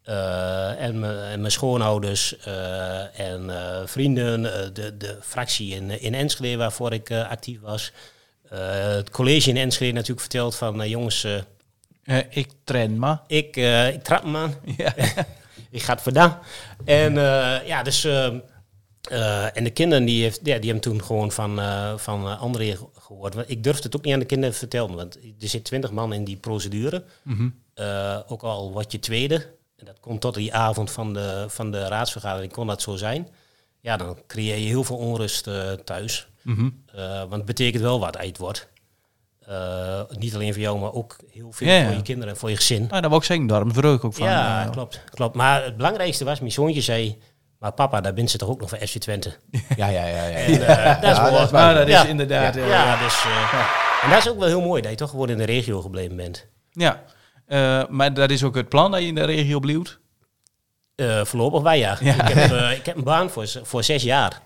[SPEAKER 7] Eh, en, me- en mijn schoonouders eh, en eh, vrienden, eh, de, de fractie in, in Enschede waarvoor ik eh, actief was. Eh, het college in Enschede natuurlijk verteld van eh, jongens, eh,
[SPEAKER 3] Eh, ik train maar.
[SPEAKER 7] ik, eh, ik trap hem aan.
[SPEAKER 3] [laughs] Ja.
[SPEAKER 7] [laughs] Ik ga het vandaan. En eh, ja, dus. eh, eh, en de kinderen die, heeft, ja, die hebben toen gewoon van, eh van eh, André ge- gehoord. Want ik durfde het ook niet aan de kinderen vertellen. Want er zit twintig man in die procedure.
[SPEAKER 3] Mhm.
[SPEAKER 7] Eh, ook al wat je tweede. En dat komt tot die avond van de, van de raadsvergadering. Kon dat zo zijn? Ja, dan creëer je heel veel onrust eh, thuis.
[SPEAKER 3] Mhm.
[SPEAKER 7] Eh, want het betekent wel wat uit wordt. Eh, niet alleen voor jou, maar ook heel veel
[SPEAKER 3] Ja, ja.
[SPEAKER 7] voor je kinderen en voor je gezin.
[SPEAKER 3] Nou, dat wil ik zeggen. Daarom verheug ik ook van.
[SPEAKER 7] Ja,
[SPEAKER 3] eh,
[SPEAKER 7] klopt, klopt. Maar het belangrijkste was, mijn zoontje zei... Maar papa, daar bent ze toch ook nog voor FC Twente?
[SPEAKER 4] Ja, ja, ja. ja.
[SPEAKER 7] En, eh, dat is mooi.
[SPEAKER 3] Maar dat is
[SPEAKER 7] Ja.
[SPEAKER 3] inderdaad... eh,
[SPEAKER 7] Ja, dus, eh, En dat is ook wel heel mooi, dat je toch gewoon in de regio gebleven bent.
[SPEAKER 3] Ja, Eh, maar dat is ook het plan dat je in de regio blijft.
[SPEAKER 7] Eh, voorlopig wij, ja. Ik, heb, eh, ik heb een baan voor, z- voor zes jaar.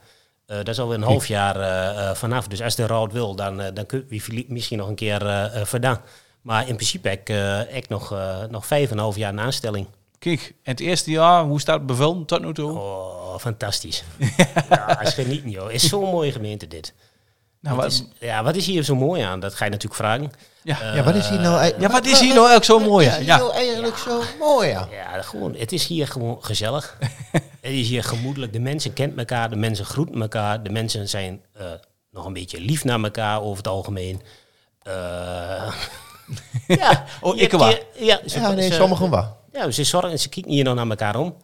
[SPEAKER 7] Eh, dat is alweer een half jaar eh, eh, vanaf. Dus als de Rout wil, dan, eh, dan kun je misschien nog een keer eh, eh, vandaan. Maar in principe heb ik, eh, ik nog, eh, nog vijf en een half jaar een aanstelling.
[SPEAKER 3] Kijk, en het eerste jaar, hoe staat het bevel tot nu toe? Nou,
[SPEAKER 7] Oh, fantastisch. ja, is genieten, joh. Is zo'n mooie gemeente dit.
[SPEAKER 3] nou,
[SPEAKER 7] Wat
[SPEAKER 3] wat-
[SPEAKER 7] is, ja, wat is hier zo mooi aan? Dat ga je natuurlijk vragen.
[SPEAKER 3] ja.
[SPEAKER 4] Ja, wat is hier nou eigenlijk,
[SPEAKER 3] ja, wat is hier nou eigenlijk zo mooi aan?
[SPEAKER 4] ja.
[SPEAKER 3] Ja.
[SPEAKER 4] nou eigenlijk zo mooi aan?
[SPEAKER 7] Ja, gewoon, het is hier gewoon [laughs] gezellig. het is hier gemoedelijk. De mensen kent elkaar, de mensen groeten elkaar. De mensen zijn eh, nog een beetje lief naar elkaar over het algemeen. Eh, [laughs] ja,
[SPEAKER 3] Oh,
[SPEAKER 7] je hebt
[SPEAKER 3] ik wel.
[SPEAKER 7] hier- Ja, ze,
[SPEAKER 4] Ja, nee,
[SPEAKER 7] ze-
[SPEAKER 3] eh,
[SPEAKER 4] sommigen wel.
[SPEAKER 7] Ja, ze zorgen, ze kijken hier nog naar elkaar om.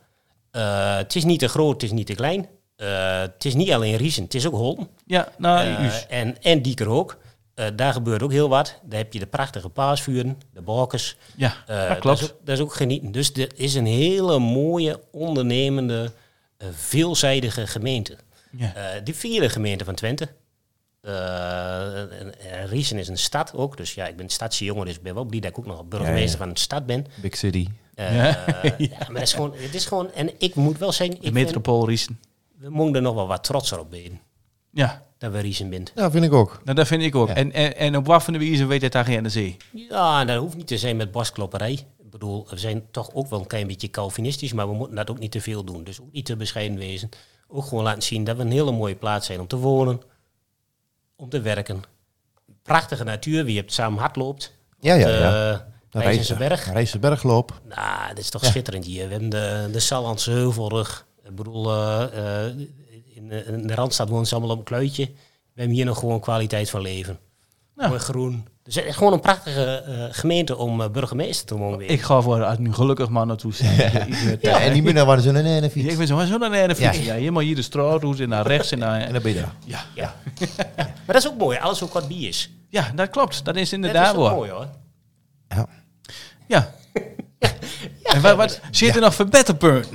[SPEAKER 7] Eh, het is niet te groot, het is niet te klein. Eh, het is niet alleen Riesen, het is ook Holm.
[SPEAKER 3] Ja, nou,
[SPEAKER 7] Eh,
[SPEAKER 3] juist.
[SPEAKER 7] en, en Dieker ook. Eh, daar gebeurt ook heel wat. Daar heb je de prachtige paasvuren, de balkers.
[SPEAKER 3] ja
[SPEAKER 7] Eh,
[SPEAKER 3] dat klopt.
[SPEAKER 7] Dat is, ook, dat is ook genieten. Dus dit is een hele mooie, ondernemende, eh, veelzijdige gemeente.
[SPEAKER 3] Ja.
[SPEAKER 7] Eh, de vierde gemeente van Twente. Eh, en- en Riesen is een stad ook. Dus ja, ik ben stadse jongen, dus ik ben wel blij dat ik ook nog burgemeester
[SPEAKER 4] Ja, ja.
[SPEAKER 7] van een
[SPEAKER 3] [laughs]
[SPEAKER 7] stad ben.
[SPEAKER 4] Big City.
[SPEAKER 7] Eh, ja. maar dat is gewoon, het is gewoon... En ik moet wel zeggen,
[SPEAKER 3] de
[SPEAKER 7] ik vind,
[SPEAKER 3] metropool Riesen.
[SPEAKER 7] we moeten er nog wel wat trotser op zijn.
[SPEAKER 3] Ja,
[SPEAKER 7] Dat we Riesen bent.
[SPEAKER 4] Ja, vind ik ook.
[SPEAKER 3] nou, dat vind ik ook.
[SPEAKER 4] Ja.
[SPEAKER 3] En, en, en op wat van de wijze weet het daar geen de zee?
[SPEAKER 7] Ja, dat hoeft niet te zijn met borstklopperij. Ik bedoel, we zijn toch ook wel een klein beetje Calvinistisch, maar we moeten dat ook niet te veel doen. Dus ook niet te bescheiden wezen. Ook gewoon laten zien dat we een hele mooie plaats zijn om te wonen, om te werken. Prachtige natuur, wie hebt samen hardloopt.
[SPEAKER 4] Ja, ja, ja.
[SPEAKER 7] Uh, berg.
[SPEAKER 4] Rijzenbergloop.
[SPEAKER 7] Nou, dat is toch schitterend hier. We hebben de, de Sallandse Heuvelrug. Ik bedoel, eh, eh, in, in de Randstad wonen ze allemaal op een kluitje. We hebben hier nog gewoon kwaliteit van leven. Mooi groen. Dus het is gewoon een prachtige eh, gemeente om eh, burgemeester te wonen. weer.
[SPEAKER 3] Ik ga voor als nu gelukkig man naartoe [laughs] zijn.
[SPEAKER 4] Ja, en die binnen waren ze een ene
[SPEAKER 3] Ik
[SPEAKER 4] fiets.
[SPEAKER 3] ben zo zo'n ene fiets.
[SPEAKER 4] Ja.
[SPEAKER 3] Ja, helemaal hier de straatroute en naar rechts en naar...
[SPEAKER 4] En dan ben je daar.
[SPEAKER 7] ja. [laughs] maar dat is ook mooi. Alles ook wat bier is.
[SPEAKER 3] Ja, dat klopt. Dat is
[SPEAKER 7] Dat is
[SPEAKER 3] inderdaad
[SPEAKER 7] ook
[SPEAKER 3] waar.
[SPEAKER 7] mooi hoor.
[SPEAKER 3] Ah,
[SPEAKER 4] Ja. Dus
[SPEAKER 3] Ja. En wat, wat zit er nog voor betterpunten?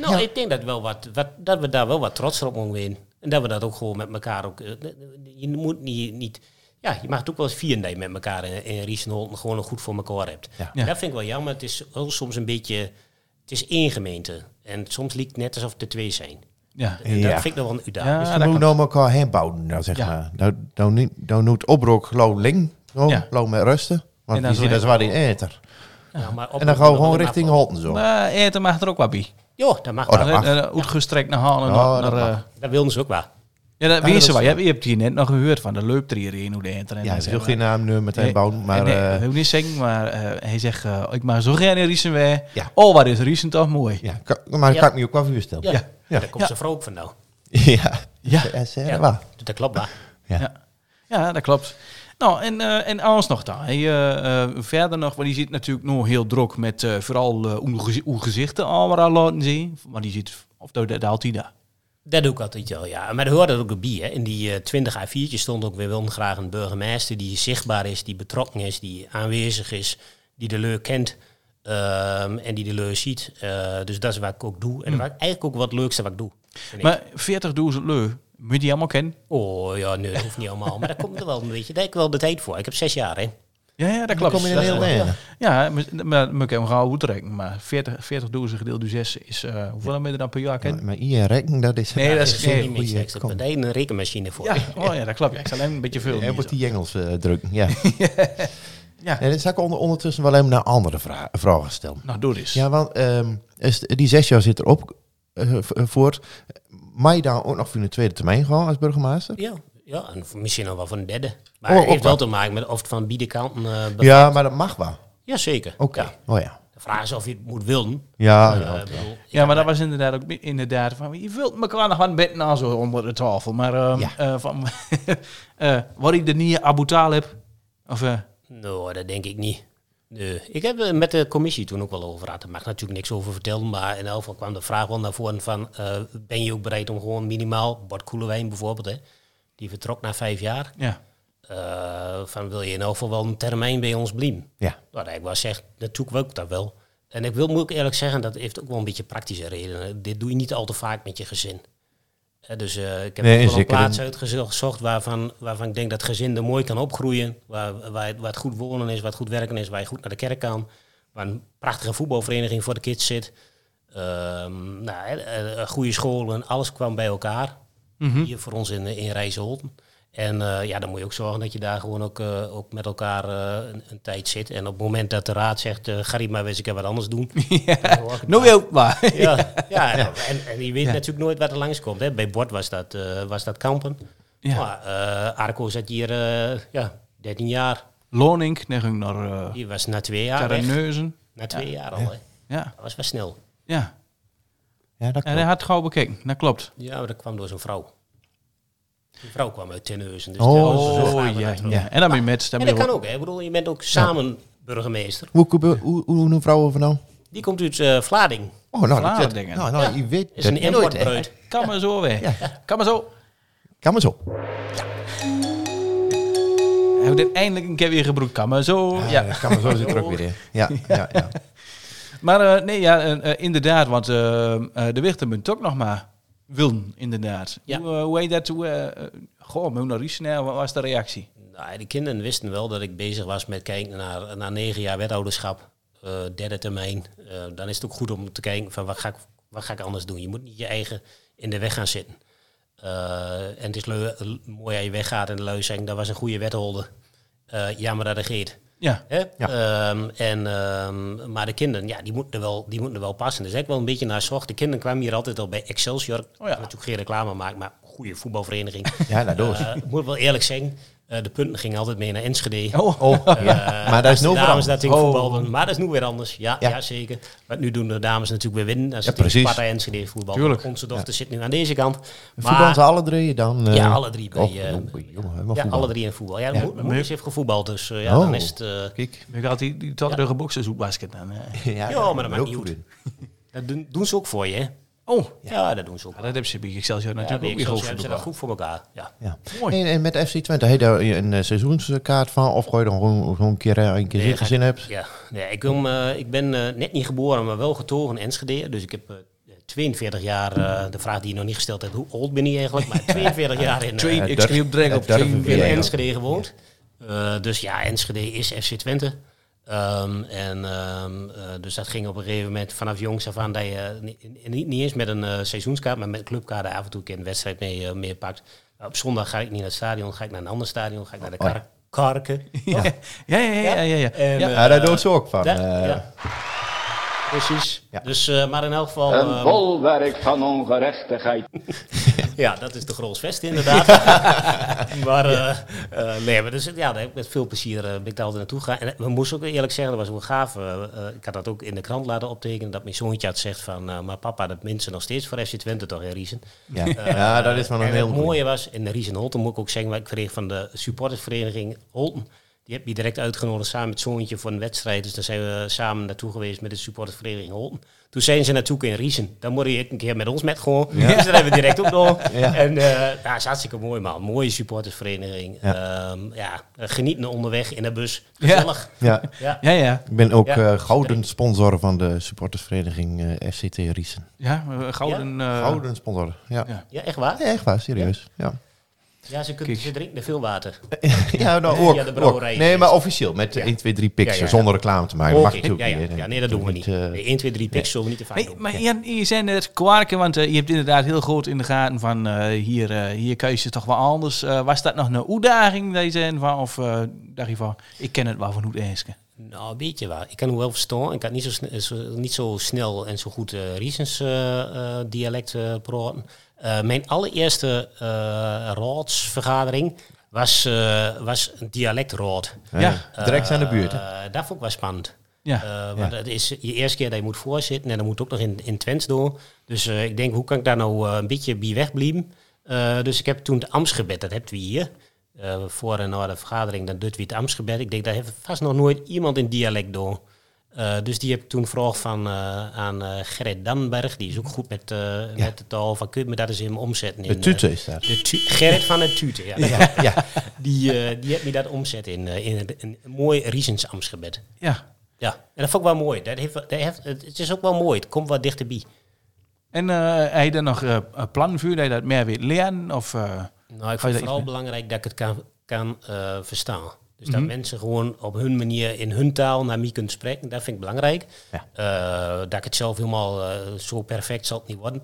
[SPEAKER 7] nou, ik denk dat, wel wat, wat, dat we daar wel wat trots op mogen zijn. En dat we dat ook gewoon met elkaar ook... eh, Je moet niet... niet ja, je mag het ook wel eens vieren met elkaar in, in Riesenholten gewoon nog goed voor elkaar hebt.
[SPEAKER 4] Ja.
[SPEAKER 7] En Dat vind ik wel jammer. Het is wel soms een beetje... Het is één gemeente. En soms lijkt het net alsof het er twee zijn.
[SPEAKER 3] Ja.
[SPEAKER 7] En
[SPEAKER 4] Ja.
[SPEAKER 7] Dat vind ik nog wel een uitdaging.
[SPEAKER 3] Ja,
[SPEAKER 4] Dus
[SPEAKER 3] dat
[SPEAKER 4] we moeten
[SPEAKER 3] kan.
[SPEAKER 4] nou elkaar heen bouwen, nou, zeg
[SPEAKER 3] Ja.
[SPEAKER 4] maar. Nou, nou, niet- nou moet obrok low ling, nou,
[SPEAKER 3] Ja.
[SPEAKER 4] low met rusten.
[SPEAKER 3] En
[SPEAKER 4] Want
[SPEAKER 3] dan
[SPEAKER 4] die
[SPEAKER 3] zo
[SPEAKER 4] zit dat
[SPEAKER 3] heen.
[SPEAKER 4] zwaar in eter.
[SPEAKER 7] Ja, maar op-
[SPEAKER 4] En dan gaan we
[SPEAKER 7] op-
[SPEAKER 4] gewoon
[SPEAKER 7] op-
[SPEAKER 4] richting Holten zo.
[SPEAKER 3] Maar Nou, eten mag er ook wat bij.
[SPEAKER 7] Ja, dat mag
[SPEAKER 4] Oh,
[SPEAKER 7] wel.
[SPEAKER 4] dat mag.
[SPEAKER 3] Eh, eh, Uitgestrekt naar halen.
[SPEAKER 4] Ja,
[SPEAKER 3] naar,
[SPEAKER 4] dat
[SPEAKER 3] naar,
[SPEAKER 4] mag.
[SPEAKER 3] eh,
[SPEAKER 7] Dat wilden ze ook wel.
[SPEAKER 3] ja, dat
[SPEAKER 4] dat
[SPEAKER 3] weet
[SPEAKER 4] is
[SPEAKER 3] je wel. Je
[SPEAKER 4] waar.
[SPEAKER 3] hebt, je hebt hier net nog gehoord van. De leupt er hierheen hoe de eten. en
[SPEAKER 4] Ja,
[SPEAKER 3] dat
[SPEAKER 4] ze wil
[SPEAKER 3] zeg
[SPEAKER 4] geen naam nu meteen
[SPEAKER 3] Nee,
[SPEAKER 4] bouwen, maar...
[SPEAKER 3] nee,
[SPEAKER 4] eh,
[SPEAKER 3] dat wil ik niet zeggen, maar eh, hij zegt, eh, ik maak zo geen Riesen weer.
[SPEAKER 4] Ja.
[SPEAKER 3] Oh, wat is Riesen toch mooi.
[SPEAKER 4] ja, ka- maar
[SPEAKER 7] Ja.
[SPEAKER 4] kan ik me ook wel voorstellen.
[SPEAKER 7] Ja.
[SPEAKER 4] Ja. Ja.
[SPEAKER 7] Daar komt
[SPEAKER 3] Ja.
[SPEAKER 7] ze vrouw ook van nou.
[SPEAKER 4] [laughs] Ja.
[SPEAKER 3] Ja.
[SPEAKER 4] Ja, zeg
[SPEAKER 7] Ja.
[SPEAKER 4] maar.
[SPEAKER 7] Dat klopt wel.
[SPEAKER 4] Ja.
[SPEAKER 3] Ja. Ja, dat klopt. Nou, en, eh en alles nog daar. Hij, eh, eh, verder nog, want die zit natuurlijk nog heel druk met eh, vooral eh, hoe gezi- hoe gezichten allemaal laten zien. Maar die zit, of dat dat haalt hij daar.
[SPEAKER 7] Dat doe ik altijd wel, ja. Maar dat hoort er ook bij. Hè. In die eh, 20 A4'tjes stond ook weer wel graag een burgemeester die zichtbaar is, die betrokken is, die aanwezig is, die de leur kent ehm, en die de leur ziet. Eh, dus dat is wat ik ook doe. En
[SPEAKER 4] Hmm.
[SPEAKER 7] dat is eigenlijk ook wat het leukste wat ik doe. vind ik.
[SPEAKER 3] Maar 40.000 leu, moet je die allemaal kennen?
[SPEAKER 7] Oh ja, nee, dat hoeft niet allemaal. Maar daar komt er wel een beetje. Daar heb ik wel de tijd voor. Ik heb zes jaar, hè.
[SPEAKER 3] Ja, ja, dat
[SPEAKER 4] Dan
[SPEAKER 3] klopt.
[SPEAKER 4] kom je in
[SPEAKER 3] Dat-
[SPEAKER 4] heel Nederland.
[SPEAKER 3] Ja, maar- maar moet ik hem gauw goed rekenen. Maar 40, 40 dozen gedeeld door 6 is eh hoeveel meter dan per jaar? Ken?
[SPEAKER 4] Maar IR rekken, dat is...
[SPEAKER 3] Nee, dat is- nee,
[SPEAKER 4] een
[SPEAKER 7] niet
[SPEAKER 4] goeie-
[SPEAKER 7] meer seks.
[SPEAKER 4] kom.
[SPEAKER 7] Daar heb je een rekenmachine voor.
[SPEAKER 3] Ja, oh ja, dat klopt. Ja, ik zal alleen een beetje veel.
[SPEAKER 4] Hij
[SPEAKER 3] niezen.
[SPEAKER 4] wordt die Engels eh, drukken, ja.
[SPEAKER 3] Ja.
[SPEAKER 4] En dan zou ik onder, ondertussen wel even naar andere vra- vragen stellen.
[SPEAKER 3] Nou, doe eens.
[SPEAKER 4] Ja, want ehm, is, die zes jaar zit erop eh, v- eh, voort. Mag je daar ook nog voor een tweede termijn gaan als burgemeester?
[SPEAKER 7] Ja, ja en misschien nog wel van een derde. Maar
[SPEAKER 4] Oh,
[SPEAKER 7] het
[SPEAKER 4] ook
[SPEAKER 7] heeft wel
[SPEAKER 4] wel.
[SPEAKER 7] te maken met of het van beide kanten... eh, be-
[SPEAKER 4] Ja, maar dat mag wel.
[SPEAKER 7] Jazeker.
[SPEAKER 4] Oké.
[SPEAKER 7] Ja.
[SPEAKER 4] Oh ja.
[SPEAKER 7] De vraag is of je het moet willen.
[SPEAKER 4] Ja,
[SPEAKER 7] Eh,
[SPEAKER 4] ja.
[SPEAKER 7] ik bedoel,
[SPEAKER 3] Ja, maar dat was inderdaad ook inderdaad van... Je vult elkaar nog wat bed na zo onder de tafel. Maar ehm
[SPEAKER 4] Ja.
[SPEAKER 3] eh, van, [laughs] eh, word ik de nieuwe Abu Talib? Of, eh,
[SPEAKER 7] Nou, dat denk ik niet. Nee. Ik heb er met de commissie toen ook wel over gehad. Daar mag ik natuurlijk niks over vertellen. Maar in elk geval kwam de vraag wel naar voren van... eh, ben je ook bereid om gewoon minimaal... Bart Koelewijn bijvoorbeeld, hè, die vertrok na vijf jaar.
[SPEAKER 3] ja.
[SPEAKER 7] eh, van wil je in elk geval wel een termijn bij ons blijven?
[SPEAKER 4] Ja.
[SPEAKER 7] Nou, dat ik wel zeg, natuurlijk wil ik dat wel. En ik wil, moet ik eerlijk zeggen, dat heeft ook wel een beetje praktische redenen. Dit doe je niet al te vaak met je gezin. Hè, dus eh, ik heb
[SPEAKER 4] Nee,
[SPEAKER 7] ook wel een
[SPEAKER 4] zeker.
[SPEAKER 7] plaats uitgezocht waarvan, waarvan ik denk dat gezin er mooi kan opgroeien. Waar, waar, het- waar het goed wonen is, waar het goed werken is, waar je goed naar de kerk kan. Waar een prachtige voetbalvereniging voor de kids zit. Ehm, nou, hè, eh, eh, goede scholen, alles kwam bij elkaar.
[SPEAKER 4] Mhm.
[SPEAKER 7] Hier voor ons in, in Rijsselholten. En eh, ja, dan moet je ook zorgen dat je daar gewoon ook, eh, ook met elkaar eh, een, een tijd zit. En op het moment dat de raad zegt, eh Gary, maar wees ik wat anders doen. dan hoor ik het
[SPEAKER 3] Nou, ook [laughs] maar.
[SPEAKER 7] ja, ja, En, en je weet natuurlijk nooit wat er langskomt. Hè. Bij Bord was dat, eh, was dat kampen.
[SPEAKER 3] Ja.
[SPEAKER 7] Maar eh, Arco zat hier eh, ja, 13 jaar.
[SPEAKER 3] Lonink, dan ging ik naar eh
[SPEAKER 7] Die was na twee jaar weg.
[SPEAKER 3] Terreneuzen.
[SPEAKER 7] Na twee jaar al. Hè.
[SPEAKER 3] Ja,
[SPEAKER 7] Dat was wel snel.
[SPEAKER 3] ja.
[SPEAKER 4] Ja, dat
[SPEAKER 3] En hij
[SPEAKER 4] klopt.
[SPEAKER 3] had gauw bekeken. Dat klopt.
[SPEAKER 7] Ja, maar dat kwam door zijn vrouw. Die vrouw kwam uit Tenneuzen. Dus
[SPEAKER 4] Oh,
[SPEAKER 7] daar was
[SPEAKER 4] zo.
[SPEAKER 7] een vraag
[SPEAKER 3] Oh,
[SPEAKER 7] bij
[SPEAKER 3] ja,
[SPEAKER 7] dat wel.
[SPEAKER 3] ja. En dan ben je met... Dan
[SPEAKER 7] En
[SPEAKER 3] ben
[SPEAKER 7] dat
[SPEAKER 3] je
[SPEAKER 7] kan ook. Hè. Ik bedoel, je bent ook samen burgemeester.
[SPEAKER 4] Hoe, hoe, hoe, hoe noemen vrouwen van nou?
[SPEAKER 7] Die komt uit eh Vlading.
[SPEAKER 4] Oh, nou, dat dat-
[SPEAKER 3] Vlaardingen.
[SPEAKER 4] nou, nou je weet
[SPEAKER 7] Is
[SPEAKER 4] dat
[SPEAKER 7] een
[SPEAKER 4] nooit, hè.
[SPEAKER 7] importbreut.
[SPEAKER 3] Kan maar zo weer. Kan maar zo.
[SPEAKER 4] Kan maar zo.
[SPEAKER 3] We hebben dit eindelijk een keer weer gebroed. Kan maar zo.
[SPEAKER 4] Ja,
[SPEAKER 3] ja.
[SPEAKER 4] dat kan maar zo zit er ook weer in. Ja, ja, ja.
[SPEAKER 3] Maar eh, nee, ja, eh, eh, inderdaad, want eh, eh, de Wichter moet ook nog maar willen, inderdaad.
[SPEAKER 7] Ja.
[SPEAKER 3] Hoe, eh, hoe heet dat? Hoe, eh, eh, goh, maar hoe naar Riesnel, wat was de reactie?
[SPEAKER 7] Nou, de kinderen wisten wel dat ik bezig was met kijken naar, naar negen jaar wethouderschap, eh, derde termijn. Eh, dan is het ook goed om te kijken van wat ga, ik, wat ga ik anders doen. Je moet niet je eigen in de weg gaan zitten. Eh, en het is leu- mooi dat je weggaat en de lui zeggen, dat was een goede wethouder. Eh jammer dat er geeft.
[SPEAKER 3] Ja,
[SPEAKER 7] Hè? Ehm, en, ehm, maar de kinderen, ja, die moeten er wel, die moeten er wel passen. Dus ik wel een beetje naar zorg. De kinderen kwamen hier altijd al bij Excelsior.
[SPEAKER 3] Oh ja.
[SPEAKER 7] Natuurlijk geen reclame maken, maar goede voetbalvereniging.
[SPEAKER 4] [laughs] Ja, nou, doos.
[SPEAKER 7] Eh, ik moet wel eerlijk zeggen, eh, de punten gingen altijd mee naar Enschede. Eh,
[SPEAKER 3] Oh.
[SPEAKER 4] Oh, ja. Maar daar is
[SPEAKER 7] de
[SPEAKER 4] nog
[SPEAKER 7] dames
[SPEAKER 4] veranderd.
[SPEAKER 7] dat ik
[SPEAKER 3] Oh.
[SPEAKER 7] voetbalden, maar dat is nu weer anders. Ja, ja.
[SPEAKER 4] Ja.
[SPEAKER 7] zeker. Want nu doen de dames natuurlijk weer winnen. Als
[SPEAKER 4] Ja,
[SPEAKER 7] het tegen
[SPEAKER 4] precies.
[SPEAKER 7] Sparta Enschede voetbal.
[SPEAKER 3] Tuurlijk.
[SPEAKER 7] Onze dochter zit nu aan deze kant.
[SPEAKER 4] Voetbal
[SPEAKER 7] Maar
[SPEAKER 4] ze alle drie dan? eh,
[SPEAKER 7] Ja, alle drie bij,
[SPEAKER 4] oh,
[SPEAKER 7] eh,
[SPEAKER 4] jongen, jongen, helemaal
[SPEAKER 7] ja,
[SPEAKER 4] voetbal.
[SPEAKER 7] alle drie in voetbal. Ja, de mo- de moeders heeft gevoetbald, dus eh, ja,
[SPEAKER 4] Oh.
[SPEAKER 7] dan is het... eh,
[SPEAKER 4] Kijk.
[SPEAKER 3] ik had die, die tatterige boksen zoekbasket aan. eh.
[SPEAKER 4] [laughs] Ja,
[SPEAKER 7] maar dat maakt
[SPEAKER 4] ben ik
[SPEAKER 7] niet
[SPEAKER 4] goed
[SPEAKER 7] uit.
[SPEAKER 4] in.
[SPEAKER 7] dat doen, doen ze ook voor je, hè?
[SPEAKER 3] Oh,
[SPEAKER 7] Ja, dat doen ze ook.
[SPEAKER 3] ja, dat hebben ze bij Excelsior
[SPEAKER 7] Ja,
[SPEAKER 3] natuurlijk
[SPEAKER 7] bij
[SPEAKER 3] ook weer
[SPEAKER 7] Excelsior
[SPEAKER 3] goed
[SPEAKER 7] hebben ze dat
[SPEAKER 3] voetbal.
[SPEAKER 7] goed voor elkaar. Ja.
[SPEAKER 4] Ja.
[SPEAKER 3] Mooi.
[SPEAKER 4] En, en met FC Twente, heb je daar een eh, seizoenskaart van? Of gooi je dan gewoon, gewoon een keer eh, een keer
[SPEAKER 7] Nee,
[SPEAKER 4] zin-
[SPEAKER 7] ga ik-
[SPEAKER 4] zin hebt?
[SPEAKER 7] Ja, nee, ik, kom, eh, ik ben eh, net niet geboren, maar wel getogen in Enschede. Dus ik heb eh, 42 jaar, eh, de vraag die je nog niet gesteld hebt, hoe oud ben je eigenlijk?
[SPEAKER 3] [laughs]
[SPEAKER 7] Maar 42 jaar in, eh,
[SPEAKER 3] Twee,
[SPEAKER 4] Ja,
[SPEAKER 3] ik
[SPEAKER 4] durf-
[SPEAKER 3] schreeuw direct op
[SPEAKER 4] ja,
[SPEAKER 3] twee.
[SPEAKER 4] durven we.
[SPEAKER 7] in
[SPEAKER 4] Ja, ja.
[SPEAKER 7] Enschede gewoond. Eh, dus ja, Enschede is FC Twente. Ehm, en, ehm, eh, dus dat ging op een gegeven moment vanaf jongs af aan dat je niet, niet, niet eens met een eh, seizoenskaart, maar met een clubkaart af en toe een keer een wedstrijd mee, eh, mee pakt. Op zondag ga ik niet naar het stadion, ga ik naar een ander stadion, ga ik naar de
[SPEAKER 4] Oh, ja.
[SPEAKER 7] kar Karken.
[SPEAKER 3] [laughs] Ja, ja, ja, ja. ja, ja.
[SPEAKER 7] En,
[SPEAKER 3] Ja.
[SPEAKER 7] eh,
[SPEAKER 4] Ja, daar doen ze ook van.
[SPEAKER 7] Da-
[SPEAKER 4] eh.
[SPEAKER 7] ja. Precies.
[SPEAKER 4] Ja.
[SPEAKER 7] Dus, eh, maar in elk geval,
[SPEAKER 5] Een
[SPEAKER 7] eh,
[SPEAKER 5] bolwerk van
[SPEAKER 7] [laughs]
[SPEAKER 5] ongerechtigheid.
[SPEAKER 7] ja, dat is de
[SPEAKER 4] [laughs]
[SPEAKER 7] Grolsvest inderdaad. maar, eh, eh, nee, maar dus, ja, daar heb ik met veel plezier eh, ben ik daar altijd naartoe gegaan. En we moesten ook eerlijk zeggen, dat was wel gaaf. eh, eh, ik had dat ook in de krant laten optekenen, dat mijn zoontje had gezegd van, eh, maar papa, dat mensen nog steeds voor FC Twente toch in Riesen.
[SPEAKER 4] Ja. ja, dat is wel een
[SPEAKER 7] En
[SPEAKER 4] heel
[SPEAKER 7] het
[SPEAKER 4] goeie.
[SPEAKER 7] mooie was, in de Riesen Holten moet ik ook zeggen, maar ik kreeg van de supportersvereniging Holten. Die heb je direct uitgenodigd samen met zoontje voor een wedstrijd. Dus daar zijn we samen naartoe geweest met de supportersvereniging Holten. Toen zijn ze naartoe in Riesen. Dan moet je een keer met ons met gewoon. Dus dat hebben we direct ook
[SPEAKER 4] [laughs]
[SPEAKER 7] nog.
[SPEAKER 4] Ja.
[SPEAKER 7] En eh ja, is hartstikke mooi man. Mooie supportersvereniging. Ja, ja eh, genieten onderweg in de bus. Gezellig.
[SPEAKER 4] Ja.
[SPEAKER 7] Ja.
[SPEAKER 3] Ja, ja.
[SPEAKER 4] Ik ben ook
[SPEAKER 7] Ja.
[SPEAKER 4] eh, gouden sponsor van de supportersvereniging eh, FCT Riesen.
[SPEAKER 3] Ja, eh, gouden... eh,
[SPEAKER 4] Gouden sponsor, ja.
[SPEAKER 3] Ja.
[SPEAKER 4] ja.
[SPEAKER 7] Ja, echt waar?
[SPEAKER 4] echt waar, serieus. Ja.
[SPEAKER 7] Ja, ze, kunnen,
[SPEAKER 3] Kijk.
[SPEAKER 7] ze drinken er veel water.
[SPEAKER 4] ja, nou,
[SPEAKER 7] Nee,
[SPEAKER 4] ook,
[SPEAKER 7] ja, de
[SPEAKER 4] ook.
[SPEAKER 7] brouwerij
[SPEAKER 4] Nee,
[SPEAKER 7] is-
[SPEAKER 4] maar officieel. Met
[SPEAKER 7] Ja.
[SPEAKER 4] 1, 2, 3 pics.
[SPEAKER 7] Ja, ja, ja.
[SPEAKER 4] Zonder reclame te maken.
[SPEAKER 7] Oké,
[SPEAKER 4] Mag natuurlijk
[SPEAKER 7] ja, ja,
[SPEAKER 4] niet, hè.
[SPEAKER 7] ja, nee, dat doen we niet.
[SPEAKER 4] eh,
[SPEAKER 7] Nee, 1, 2, 3 pixels zullen we niet te vaak
[SPEAKER 3] Nee,
[SPEAKER 7] doen.
[SPEAKER 3] maar
[SPEAKER 7] Nee.
[SPEAKER 3] Jan, je zei net kwarken, want eh, je hebt inderdaad heel goed in de gaten van eh, hier, eh hier keus je toch wel anders. Eh, was dat nog een uitdaging deze en van, of eh, dacht je van, ik ken het wel van hoe het is?
[SPEAKER 7] Nou, een beetje waar. Ik kan hem wel verstaan. Ik kan niet zo, sne- zo- niet zo snel en zo goed eh Riesens eh, eh, dialect eh, praten. Eh, mijn allereerste eh raadsvergadering was, eh was een dialectraad.
[SPEAKER 3] Ja.
[SPEAKER 4] eh, Direct aan de buurt. hè.
[SPEAKER 7] Eh, dat vond ik wel spannend.
[SPEAKER 3] Ja.
[SPEAKER 7] Eh, want het is je eerste keer dat je moet voorzitten en dan moet ook nog in, in Twents door. Dus eh, ik denk, hoe kan ik daar nou eh, een beetje bij wegblijven? Eh, dus ik heb toen het Amtsgebed, dat hebben we hier. Eh, voor en na de vergadering, dan doet we het Amtsgebed. Ik denk, daar heeft vast nog nooit iemand in dialect door. Eh, dus die heb ik toen gevraagd van, eh, aan eh Gerrit Danberg. Die is ook goed met, eh, met de taal. Van, kun je me dat eens in omzetten? In,
[SPEAKER 4] De tute
[SPEAKER 7] eh,
[SPEAKER 4] is daar.
[SPEAKER 7] de tu- Gerrit van de Tute, ja.
[SPEAKER 4] [laughs] Ja.
[SPEAKER 7] Die, eh, die heeft me dat omzet in, eh, in, een- een mooi Riesens Amtsgebed.
[SPEAKER 3] Ja.
[SPEAKER 7] Ja, en dat vond ik wel mooi. Dat heeft, dat heeft, het het is ook wel mooi. Het komt wat dichterbij.
[SPEAKER 3] En eh hij er nog eh plan voor dat je dat meer weet leren? Of, eh,
[SPEAKER 7] Nou, ik
[SPEAKER 3] Ga je daar
[SPEAKER 7] vind het
[SPEAKER 3] iets mee?
[SPEAKER 7] vooral belangrijk dat ik het kan, kan eh, verstaan. Dus dat mensen gewoon op hun manier, in hun taal, naar mij kunnen spreken. Dat vind ik belangrijk. Eh, dat ik het zelf helemaal eh, zo perfect zal het niet worden.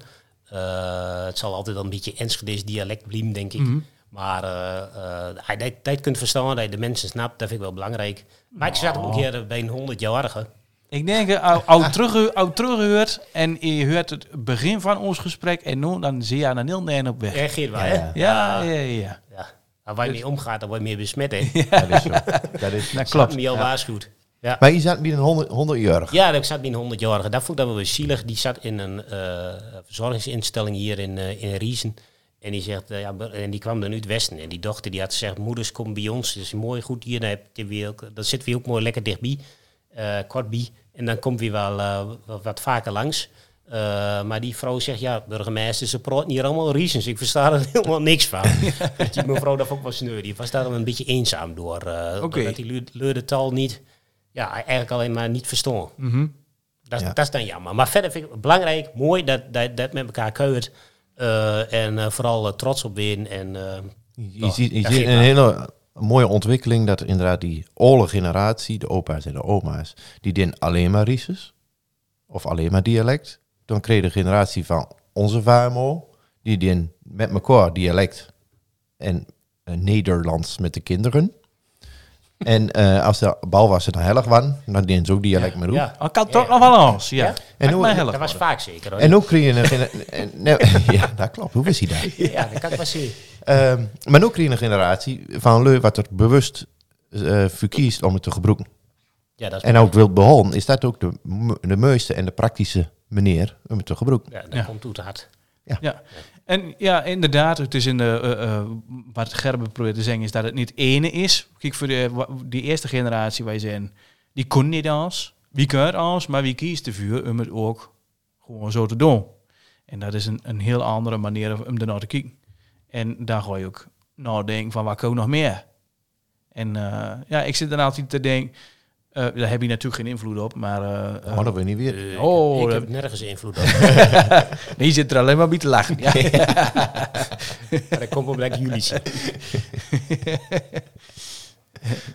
[SPEAKER 7] Eh, het zal altijd wel een beetje Enschede's dialect blijven, denk ik. Maar eh, eh, dat je dat, dat je kunt verstaan, dat je de mensen snapt, dat vind ik wel belangrijk. Maar ik zat ook hier bij een 100-jarige.
[SPEAKER 3] ik denk, eh, ou- oud terug, oud teruggehoord en je hoort het begin van ons gesprek en nu, dan zie je aan een heel neer op weg. Ja,
[SPEAKER 7] Reageer wel, hè?
[SPEAKER 3] ja, ja. ja.
[SPEAKER 7] Ja. Maar waar je mee omgaat, dan word je meer besmet, hè?
[SPEAKER 4] Dat [laughs] is zo. Dat is zo.
[SPEAKER 3] Dat klopt.
[SPEAKER 7] Had me al waarschuwd. Ja.
[SPEAKER 4] Maar je zat binnen een 100 100-jarige.
[SPEAKER 7] ja, ik zat bij een 100-jarige. Dat vond ik dan wel weer zielig. Die zat in een eh, verzorgingsinstelling hier in, eh, in Riesen. En die, zegt, eh, ja, be- en die kwam dan uit het Westen. En die dochter die had gezegd, moeders, kom bij ons. Het is mooi, goed hier. Dan, heb je weer ook- dan zitten we ook mooi lekker dichtbij. eh kort bij. En dan komt weer wel eh, wat, wat vaker langs. Eh, maar die vrouw zegt, ja, burgemeester, ze praten hier allemaal reasons. Dus Ik versta er [laughs] helemaal niks van. Dus die mevrouw dat vond ik wel sneu. Die was daar dan een beetje eenzaam door. eh
[SPEAKER 3] Oké.
[SPEAKER 7] Omdat die leu- leurde taal niet, ja, eigenlijk alleen maar niet verstoren. Dat,
[SPEAKER 4] Ja.
[SPEAKER 7] dat is dan jammer. Maar verder vind ik het belangrijk, mooi dat dat, dat met elkaar keurt. Eh, en eh, vooral eh, trots op win. En, eh,
[SPEAKER 4] Je,
[SPEAKER 7] toch,
[SPEAKER 4] ziet, je
[SPEAKER 7] dat
[SPEAKER 4] ziet
[SPEAKER 7] geeft
[SPEAKER 4] een
[SPEAKER 7] wel.
[SPEAKER 4] hele mooie ontwikkeling dat inderdaad die oude generatie, de opa's en de oma's, die deden alleen maar Rises of alleen maar dialect. Dan kreeg de generatie van onze vamo, die deden met elkaar dialect en eh, Nederlands met de kinderen. En eh, als de bal was, dan hellig waren, dan deden ze ook dialect met roep.
[SPEAKER 7] ja.
[SPEAKER 3] Ik kan toch nog wel anders, ja.
[SPEAKER 7] Ja?
[SPEAKER 3] En
[SPEAKER 4] hoe-
[SPEAKER 3] hoe,
[SPEAKER 4] dat
[SPEAKER 7] Dat was vaak zeker. Hoor.
[SPEAKER 4] En ook kreeg je een... gener- [laughs] en- nou, ja, dat klopt. Hoe is hij daar?
[SPEAKER 7] ja, dat kan ik wel zien.
[SPEAKER 4] Ehm, maar ook een generatie van Leu wat er bewust eh voor kiest om het te gebruiken.
[SPEAKER 7] Ja, dat is
[SPEAKER 4] En ook wil behouden, is dat ook de, m- de mooiste en de praktische manier om het te gebruiken.
[SPEAKER 7] ja, dat
[SPEAKER 3] Ja.
[SPEAKER 7] komt toe te hard.
[SPEAKER 3] Ja. En ja, inderdaad, het is in de, eh, eh, wat Gerben probeert te zeggen is dat het niet ene is. Kijk, voor de, eh, wa- die eerste generatie wij zijn, die kon niet als, wie kan als, maar wie kiest ervoor om het ook gewoon zo te doen. En dat is een, een heel andere manier om ernaar te kijken. En daar ga je ook nadenken van, wat kan ik nog meer? En eh, ja, ik zit dan altijd te denken, eh, daar heb je natuurlijk geen invloed op, maar... eh,
[SPEAKER 4] Maar dat wil je niet weer.
[SPEAKER 7] Eh,
[SPEAKER 3] Oh,
[SPEAKER 7] ik
[SPEAKER 3] dat-
[SPEAKER 7] heb nergens invloed op.
[SPEAKER 3] nee, je zit er alleen maar bij te lachen. Ja.
[SPEAKER 7] Maar dat komt omdat ik jullie zie.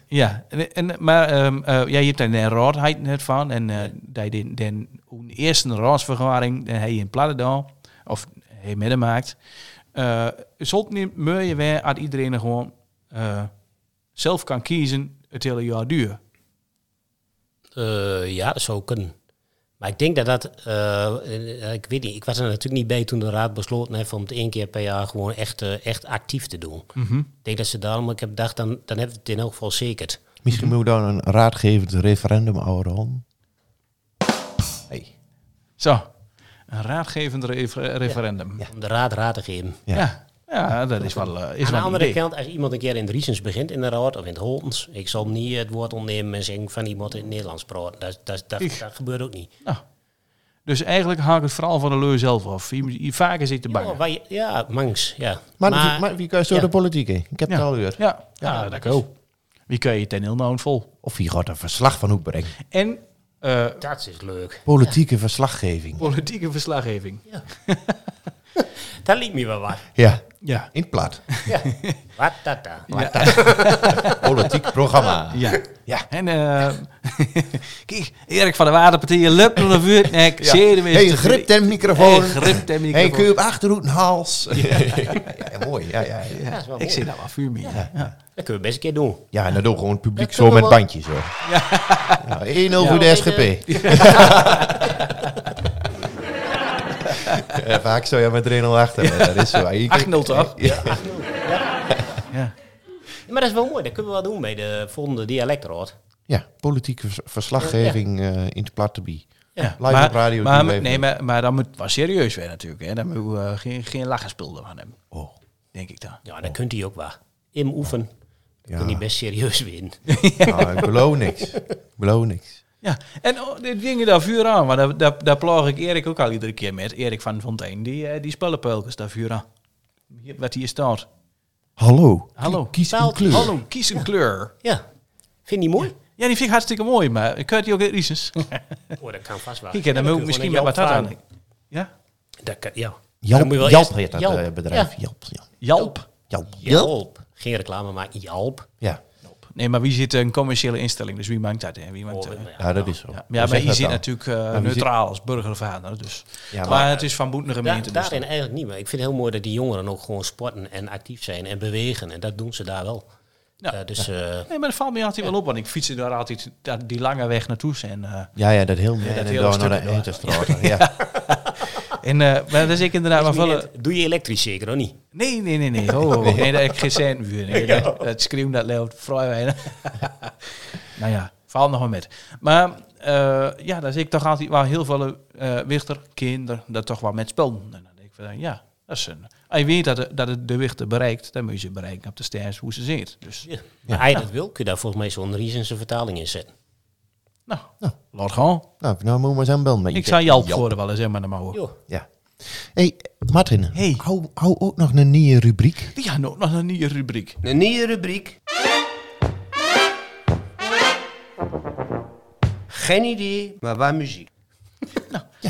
[SPEAKER 3] Ja, en, en- maar ehm, eh, ja, je hebt daar een raadheid net van. En eh dat je den, den, een eerste raadsvergadering die hij in Plattendal, of hij midden maakt. eh zult niet meer weer aan iedereen gewoon eh, zelf kan kiezen het hele jaar duur.
[SPEAKER 7] Eh, ja, dat zou kunnen. Maar ik denk dat dat, eh, eh, ik weet niet, ik was er natuurlijk niet bij toen de raad besloten heeft om het één keer per jaar gewoon echt, eh, echt actief te doen.
[SPEAKER 3] Mhm.
[SPEAKER 7] Ik denk dat ze daarom, ik heb gedacht, dan, dan hebben we het in elk geval zeker.
[SPEAKER 4] Misschien
[SPEAKER 3] mhm.
[SPEAKER 4] moet dan een raadgevend referendum houden om. Hey.
[SPEAKER 3] Zo, een raadgevend refer- referendum. Ja,
[SPEAKER 7] Om de raad raad te geven.
[SPEAKER 4] Ja.
[SPEAKER 3] ja. dat is wel, eh, is wel
[SPEAKER 7] Aan de
[SPEAKER 3] een
[SPEAKER 7] andere
[SPEAKER 3] idee.
[SPEAKER 7] kant, als iemand een keer in de Riesens begint in de raad of in het Holtens, ik zal niet het woord ondernemen en zeggen van iemand in het Nederlands praten. Dat, dat, dat,
[SPEAKER 3] Ik-
[SPEAKER 7] dat gebeurt ook niet.
[SPEAKER 3] Nou, dus eigenlijk haak het vooral van de leur zelf af. Je, je vaker zit te
[SPEAKER 7] Ja,
[SPEAKER 3] bangen.
[SPEAKER 7] Oh, wij- ja, mangs. Ja.
[SPEAKER 4] Maar, maar, wie kan zo
[SPEAKER 7] ja.
[SPEAKER 4] de politiek in? Ik heb het al gehoord.
[SPEAKER 3] Ja, ja, dat kan ook. Wie kan je ten heel nauw vol?
[SPEAKER 4] Of wie gaat een verslag van ook brengen?
[SPEAKER 3] En eh,
[SPEAKER 7] dat is leuk.
[SPEAKER 4] Politieke verslaggeving.
[SPEAKER 3] politieke verslaggeving.
[SPEAKER 7] Ja. Dat liep me wel
[SPEAKER 3] [laughs]
[SPEAKER 7] wat.
[SPEAKER 4] Ja,
[SPEAKER 3] Ja.
[SPEAKER 4] in het plat.
[SPEAKER 7] Ja. Wat dat daar.
[SPEAKER 4] Politiek programma.
[SPEAKER 3] Ja. ja. [laughs] En eh, kijk, Erik van der Waterpartij, lup nog een vuur. Nee, ik zie hem eens
[SPEAKER 4] Hey,
[SPEAKER 3] te-
[SPEAKER 4] grip en microfoon.
[SPEAKER 3] Hey, grip en
[SPEAKER 4] Hey,
[SPEAKER 3] microfoon.
[SPEAKER 4] kun je op achterhoek een
[SPEAKER 3] [laughs]
[SPEAKER 4] hals? Ja, mooi. Ja, ja, ja.
[SPEAKER 7] Dat is wel
[SPEAKER 3] ik
[SPEAKER 7] mooi.
[SPEAKER 3] zie daar wel vuur mee. Ja. Ja.
[SPEAKER 7] Dat kunnen we best een keer doen.
[SPEAKER 4] ja, en dan doen we gewoon het publiek
[SPEAKER 7] Dat
[SPEAKER 4] zo
[SPEAKER 7] kunnen
[SPEAKER 4] met
[SPEAKER 7] we
[SPEAKER 4] bandjes.
[SPEAKER 7] wel.
[SPEAKER 4] Hoor. Ja. 1-0 voor de
[SPEAKER 7] Ja. eh,
[SPEAKER 4] SGP. [laughs]
[SPEAKER 7] [laughs]
[SPEAKER 4] Ja, Vaak zou je met 3-0 achter. maar Dat is zo. Je
[SPEAKER 3] 8-0 toch?
[SPEAKER 4] Ja.
[SPEAKER 3] Ja.
[SPEAKER 7] Ja, maar dat is wel mooi. Dat kunnen we wel doen bij de volgende dialectrood.
[SPEAKER 4] Ja, politieke vers- verslaggeving eh, in het plattebie.
[SPEAKER 7] Ja.
[SPEAKER 4] Live op radio.
[SPEAKER 3] Maar,
[SPEAKER 4] doen we even.
[SPEAKER 3] nee, maar, maar dan moet het wel serieus zijn natuurlijk. Hè. Dan moet we geen, geen lacherspul aan hebben.
[SPEAKER 4] Oh.
[SPEAKER 3] Denk ik dan.
[SPEAKER 7] Ja, dan kunt hij ook wel. In oefen. Dan
[SPEAKER 4] Ja.
[SPEAKER 7] kun je best serieus
[SPEAKER 3] [laughs]
[SPEAKER 7] winnen.
[SPEAKER 4] Nou, ik beloof niks. Ik beloof niks.
[SPEAKER 3] Ja, en oh, dit dingen daar vuur aan. Maar daar, daar, daar plaag ik Erik ook al iedere keer met. Erik van Fontein, die, eh, die spellenpeulkens daar vuur aan. Hier, wat hier staat.
[SPEAKER 4] Hallo.
[SPEAKER 3] Hallo.
[SPEAKER 4] Kies een
[SPEAKER 7] Taal-
[SPEAKER 4] kleur.
[SPEAKER 3] Hallo, kies een kleur.
[SPEAKER 7] Ja. Vind je die mooi?
[SPEAKER 3] Ja, die vind ik hartstikke mooi, maar kun je die ook in
[SPEAKER 4] [laughs]
[SPEAKER 3] Riesens?
[SPEAKER 7] Oh, dat kan vast wel.
[SPEAKER 3] Kijk, en dan
[SPEAKER 7] Ja,
[SPEAKER 3] moet ik
[SPEAKER 7] kun je
[SPEAKER 3] misschien met wat
[SPEAKER 7] gewoon
[SPEAKER 3] dat
[SPEAKER 7] Jalp
[SPEAKER 3] aan. Ja?
[SPEAKER 7] vragen. Dat kan, ja. Dan
[SPEAKER 4] Jalp,
[SPEAKER 7] moet je wel
[SPEAKER 4] Jalp
[SPEAKER 7] eerst-
[SPEAKER 4] heet dat
[SPEAKER 7] Jalp.
[SPEAKER 4] eh, bedrijf.
[SPEAKER 7] Ja.
[SPEAKER 4] Jalp. ja.
[SPEAKER 3] Jalp.
[SPEAKER 4] Jalp.
[SPEAKER 7] Jalp. Geen reclame, maar Jalp.
[SPEAKER 4] Ja.
[SPEAKER 3] Nee, maar wie zit een commerciële instelling? Dus wie maakt dat? Hè? Wie maakt,
[SPEAKER 7] Oh,
[SPEAKER 3] eh, ja,
[SPEAKER 4] ja, dat is zo. Hoe
[SPEAKER 3] maar
[SPEAKER 4] zeg
[SPEAKER 3] je
[SPEAKER 4] dat
[SPEAKER 3] zit
[SPEAKER 4] dan?
[SPEAKER 3] natuurlijk eh,
[SPEAKER 4] wie zit-
[SPEAKER 3] neutraal als burgervader. Dus.
[SPEAKER 4] Ja,
[SPEAKER 3] maar,
[SPEAKER 4] maar-
[SPEAKER 3] het is van Boet een
[SPEAKER 7] Da-
[SPEAKER 3] gemeente. dus
[SPEAKER 7] daarin eigenlijk niet, maar ik vind het heel mooi dat die jongeren ook gewoon sporten en actief zijn en bewegen. En dat doen ze daar wel.
[SPEAKER 3] Ja.
[SPEAKER 7] Eh, dus eh,
[SPEAKER 3] Nee, maar dat valt me altijd wel op, want ik fiets er daar altijd daar- die lange weg naartoe. En, eh,
[SPEAKER 4] Ja, ja, dat heel ja,
[SPEAKER 3] dat
[SPEAKER 4] dat
[SPEAKER 3] hele
[SPEAKER 4] heel
[SPEAKER 3] stuk
[SPEAKER 4] naar de
[SPEAKER 3] door.
[SPEAKER 4] Etenstraat. Ja.
[SPEAKER 3] en eh, maar dat is ik inderdaad wel
[SPEAKER 7] is niet
[SPEAKER 3] volle...
[SPEAKER 7] net- doe je elektrisch zeker, of niet?
[SPEAKER 3] Nee, nee, nee, [laughs] nee. Oh, nee. dat heb ik geen cent vuur. [laughs] Nee, dat, dat schreeuwt, dat leeuwt, vrij weinig. [laughs] nou ja, val nog maar met. Maar eh, ja, daar zie ik toch altijd wel heel veel eh wichter, kinderen, dat toch wel met spelen. En dan denk ik van, ja, dat is een... Als je weet dat, het- dat het de wichter bereikt, dan moet je ze bereiken op de sters hoe ze zit. Dus,
[SPEAKER 7] Ja. Maar Als je dat wil, kun je daar volgens mij zo'n Riesense vertaling in zetten.
[SPEAKER 3] nou, laat gaan.
[SPEAKER 4] Nou, nou moet je maar eens bel met je.
[SPEAKER 3] Ik zou Jalp voor wel eens, hè, maar dan maar hoor.
[SPEAKER 7] Jo.
[SPEAKER 4] Ja. hey, Martin.
[SPEAKER 3] Hey.
[SPEAKER 4] Hou, hou ook nog een nieuwe rubriek.
[SPEAKER 3] Ja, nou, nog een nieuwe rubriek.
[SPEAKER 8] Een nieuwe rubriek. Geen idee, maar waar muziek.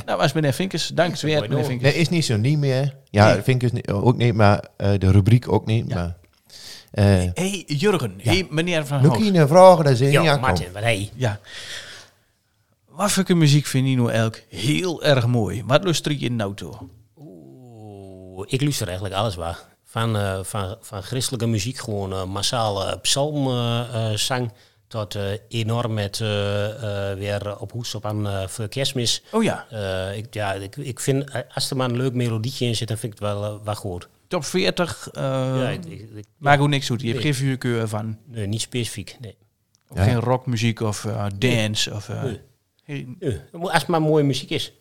[SPEAKER 3] Nou, was meneer Vinkers. Dank het weer,
[SPEAKER 7] mooi
[SPEAKER 3] meneer
[SPEAKER 7] door.
[SPEAKER 3] Vinkers.
[SPEAKER 4] Nee, is niet zo nieuw meer. Ja,
[SPEAKER 3] Nee.
[SPEAKER 4] vind ik dus niet- ook niet, maar eh, de rubriek ook niet. Maar, eh
[SPEAKER 3] Hé, hey, Jurgen. Hé, meneer Van
[SPEAKER 4] Nog
[SPEAKER 3] Hoog.
[SPEAKER 4] een vraag, dat ze niet
[SPEAKER 7] Ja,
[SPEAKER 4] aankomt.
[SPEAKER 7] Martin, wat hey.
[SPEAKER 3] Ja. Wat voor muziek vindt Nino Elk heel erg mooi? Wat luister je nou toe?
[SPEAKER 7] Oeh, ik luister eigenlijk alles waar. Van, eh, van, van christelijke muziek, gewoon eh, massaal eh, psalm psalmzang, tot eh, enorm met eh, eh, weer op hoes op aan eh, voor kerstmis.
[SPEAKER 3] Oh ja,
[SPEAKER 7] Eh, ik, ja, ik, ik vind, eh, als er maar een leuk melodietje in zit, dan vind ik het wel, eh, wel goed.
[SPEAKER 3] top 40. eh
[SPEAKER 7] Ja, ik, ik- ik-
[SPEAKER 3] maakt ook niks uit. Je hebt geen vuurkeur van.
[SPEAKER 7] nee, niet specifiek. Nee.
[SPEAKER 3] Ook Geen rockmuziek of eh, dance. Of, eh
[SPEAKER 7] Nee.
[SPEAKER 3] geen-
[SPEAKER 7] Eh, Als het maar mooie muziek is.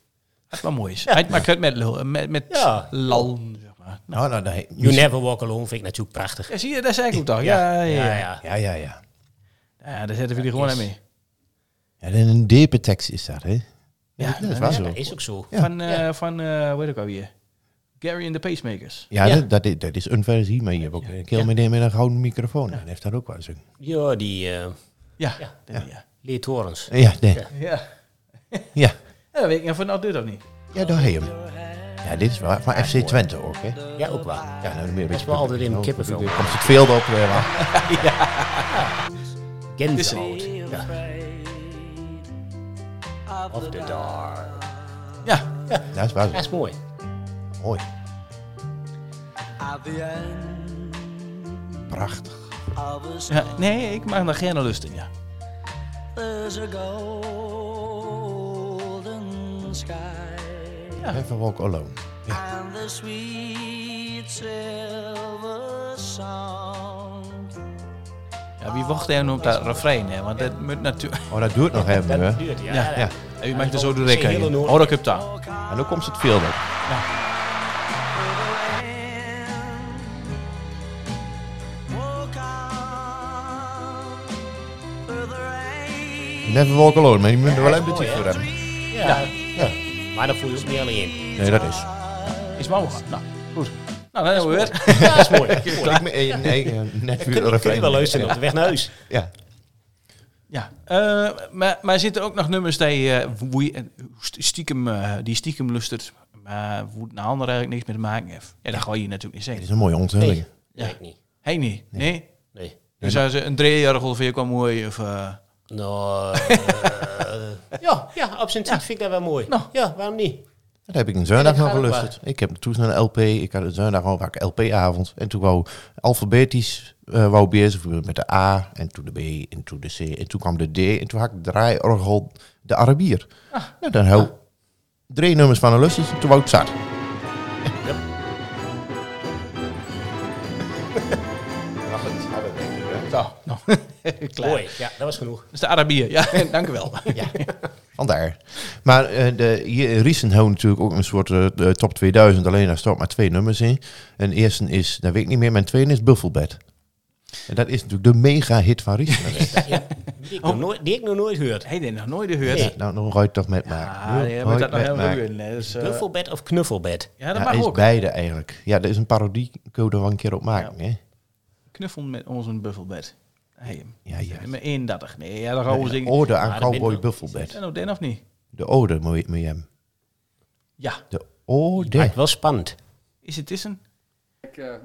[SPEAKER 3] wat maar mooi is. Hij maakt het met, lul- eh, met, met
[SPEAKER 7] Ja.
[SPEAKER 3] lal, zeg maar.
[SPEAKER 4] Nou, nou, nee.
[SPEAKER 7] You Never Walk Alone vind ik natuurlijk prachtig.
[SPEAKER 3] Ja, zie je, dat is eigenlijk toch? Ja, ja, ja.
[SPEAKER 7] ja.
[SPEAKER 3] ja.
[SPEAKER 4] Ja, ja, ja.
[SPEAKER 3] daar zetten we die gewoon aan mee.
[SPEAKER 4] ja dan een diepe tekst is dat, hè?
[SPEAKER 3] Ja,
[SPEAKER 4] dat is waar zo.
[SPEAKER 7] Dat is ook zo.
[SPEAKER 4] Ja.
[SPEAKER 3] Van, eh van eh weet ik alweer, Gary and the Pacemakers.
[SPEAKER 4] Ja,
[SPEAKER 7] Ja.
[SPEAKER 4] Dat, dat, is, dat is een versie, maar je hebt ook een keel met met een gouden microfoon. En heeft dat ook wel eens een...
[SPEAKER 7] Ja, die eh
[SPEAKER 3] Ja, ja. ja. ja.
[SPEAKER 7] Leertorens.
[SPEAKER 4] Ja, nee. Ja, ja.
[SPEAKER 3] dat weet ik niet of het nou dit of niet.
[SPEAKER 4] daar heb je hem. Ja, dit is waar. Maar FC Twente ook, hè?
[SPEAKER 7] Ja, ook waar.
[SPEAKER 4] Ja, nou, dan ben je een
[SPEAKER 7] Dat is
[SPEAKER 4] beetje-
[SPEAKER 7] wel altijd in
[SPEAKER 4] nou,
[SPEAKER 7] kippenvel.
[SPEAKER 4] dan Komt het veld op, eh, maar-
[SPEAKER 7] Genzout. Ja. Of the dark.
[SPEAKER 3] Ja,
[SPEAKER 4] Dat is waar zo.
[SPEAKER 7] Dat is mooi.
[SPEAKER 4] Mooi. Prachtig.
[SPEAKER 3] Ja, nee, ik maak daar geen lust in, ja.
[SPEAKER 4] Even walk alone.
[SPEAKER 3] ja wie wacht er op dat refrein, hè? Want dat moet natuurlijk...
[SPEAKER 4] Oh, dat duurt nog even, hè?
[SPEAKER 7] Duurt, ja.
[SPEAKER 3] Ja,
[SPEAKER 7] ja.
[SPEAKER 3] ja. En [laughs] u maakt er zo de rek
[SPEAKER 7] Geen
[SPEAKER 3] in.
[SPEAKER 7] hele noot.
[SPEAKER 3] Oh, dat heb daar.
[SPEAKER 4] En dan komt het veld op. Never walk alone, maar je moet er wel een beetje voor hebben.
[SPEAKER 7] Maar dat voel je ook niet alleen.
[SPEAKER 4] Nee, dat is.
[SPEAKER 3] Is maar wat. Nou, goed. Nou, dan hebben we weer. [laughs]
[SPEAKER 7] Ja, dat is mooi. Dat is mooi.
[SPEAKER 4] Ik, nee, nee, eh, net weer
[SPEAKER 7] Kun, kun je wel
[SPEAKER 4] refrein.
[SPEAKER 7] luisteren op de weg naar huis.
[SPEAKER 4] Ja.
[SPEAKER 3] Ja, eh, maar, maar zitten er ook nog nummers die, eh, hoe je- eh, st- stiekem, eh, die stiekem lustert? maar woed naar ander eigenlijk niks mee te maken heeft. Ja, dat ga je natuurlijk niet
[SPEAKER 4] Dit
[SPEAKER 3] zeggen.
[SPEAKER 4] is een mooie onthulling.
[SPEAKER 7] Nee,
[SPEAKER 3] Ja.
[SPEAKER 7] weet ik niet.
[SPEAKER 3] Hé, nee. Nee?
[SPEAKER 7] Nee.
[SPEAKER 3] Dus als een driejarige ongeveer kwam mooi of... eh,
[SPEAKER 7] Nou, eh, [laughs] ja, ja, absentiet vind ik dat wel mooi.
[SPEAKER 3] Nou.
[SPEAKER 7] Ja, waarom niet?
[SPEAKER 4] Daar heb ik een zondag
[SPEAKER 7] Ja,
[SPEAKER 4] nog
[SPEAKER 7] dat gaat ook
[SPEAKER 4] geluisterd. Ik heb toen een LP, ik had een zondag al vaak LP-avond. En toen wou alfabetisch eh wou bezig worden met de A en toen de B en toen de C en toen kwam de D en toen had ik draaiorgel de Arabier. Nou, dan hou drie nummers van een lusters en toen wou ik zat.
[SPEAKER 3] nou, nou. [laughs] Klaar.
[SPEAKER 7] Mooi, ja, dat was
[SPEAKER 3] [laughs]
[SPEAKER 7] genoeg.
[SPEAKER 3] Dat is de Arabier. Ja, dank u [laughs] wel.
[SPEAKER 4] Vandaar. Maar eh de, hier, Riesen houdt natuurlijk ook een soort eh, de top 2000, alleen daar staat maar twee nummers in. En eerste is, dat weet ik niet meer, mijn tweede is Buffelbed. En dat is natuurlijk de mega-hit van Riesen.
[SPEAKER 3] [laughs]
[SPEAKER 7] Die ik, nog nooit, die ik nog nooit gehoord.
[SPEAKER 3] Hij deed nog nooit de huurt.
[SPEAKER 7] Nee.
[SPEAKER 4] Nou, nog ooit toch met maken.
[SPEAKER 3] Ah,
[SPEAKER 4] Nooit
[SPEAKER 3] nee, maar dat nog
[SPEAKER 4] met
[SPEAKER 3] helemaal
[SPEAKER 4] maken.
[SPEAKER 3] niet. Nee, dat is, eh,
[SPEAKER 7] Knuffelbed of knuffelbed?
[SPEAKER 3] ja, dat
[SPEAKER 4] Ja,
[SPEAKER 3] mag
[SPEAKER 4] is
[SPEAKER 3] ook.
[SPEAKER 4] beide eigenlijk. Ja, er is een parodie code wel een keer op maken. Ja, hè?
[SPEAKER 3] Knuffel met ons een buffelbed. Hey,
[SPEAKER 4] ja. ja.
[SPEAKER 3] Nummer 31. Nee, oh. ja, dan gaan we
[SPEAKER 4] De
[SPEAKER 3] zingen.
[SPEAKER 4] ode aan
[SPEAKER 7] dat ben
[SPEAKER 4] Cowboy
[SPEAKER 7] ik wel.
[SPEAKER 3] Is
[SPEAKER 4] Buffelbed.
[SPEAKER 3] dat nou Den of niet?
[SPEAKER 4] De ode moet je hem.
[SPEAKER 3] Ja.
[SPEAKER 4] De
[SPEAKER 7] Maar Ah, het
[SPEAKER 4] ode.
[SPEAKER 7] was spannend.
[SPEAKER 3] Is het Tissen?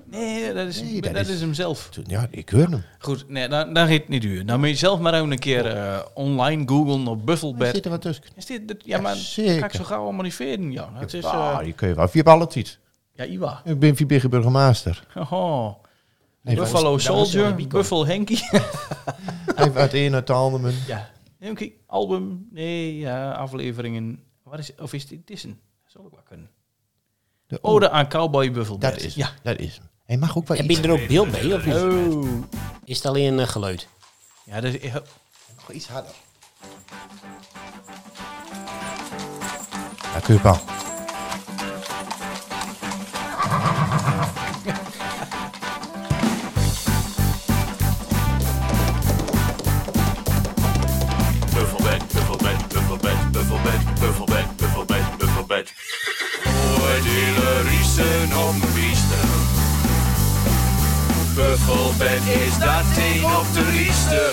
[SPEAKER 3] Nee, dat is,
[SPEAKER 4] Nee,
[SPEAKER 3] dat
[SPEAKER 4] dat
[SPEAKER 3] is...
[SPEAKER 4] is-
[SPEAKER 3] hem zelf.
[SPEAKER 4] Ja, ik hoor hem.
[SPEAKER 3] Goed, nee, dan, dan gaat het niet duur. Dan moet je zelf maar even een keer eh, online googlen op
[SPEAKER 4] Er
[SPEAKER 3] buffelbed.
[SPEAKER 4] zit er wat tussen.
[SPEAKER 3] Is dit, dit- ja, maar
[SPEAKER 4] zeker.
[SPEAKER 3] ga ik zo gauw allemaal niet verder. Ja, het is... eh,
[SPEAKER 4] Ah, die kun je wel. Vier ballen tiet.
[SPEAKER 3] ja, Iwa. [laughs]
[SPEAKER 4] Ik ben vier Biggeburger Master.
[SPEAKER 3] Hoho.
[SPEAKER 4] Nee,
[SPEAKER 3] Buffalo
[SPEAKER 7] wel
[SPEAKER 3] Soldier,
[SPEAKER 7] die
[SPEAKER 3] Buffel Henky.
[SPEAKER 4] Hij had een uit de andere.
[SPEAKER 3] ja. Oké, album. Nee, ja, afleveringen. Wat is, of is dit Tissen? Dat zal ook wel kunnen.
[SPEAKER 4] De
[SPEAKER 3] Ode aan Cowboy Buffelbed.
[SPEAKER 4] Dat is
[SPEAKER 3] Ja.
[SPEAKER 4] hem. Dat is hem. Hij mag ook wel
[SPEAKER 7] Heb je
[SPEAKER 4] iets.
[SPEAKER 7] er ook beeld bij of niet?
[SPEAKER 3] Oh.
[SPEAKER 7] Is het alleen eh, geluid?
[SPEAKER 3] Ja, dat is...
[SPEAKER 4] Nog iets harder. Ja, kun je wel.
[SPEAKER 6] Buffelbed, buffelbed, buffelbed, buffelbed, buffelbed, buffelbed, buffelbed. Oordelen, riesen om wiesten. Buffelbed is dat een op de riesten.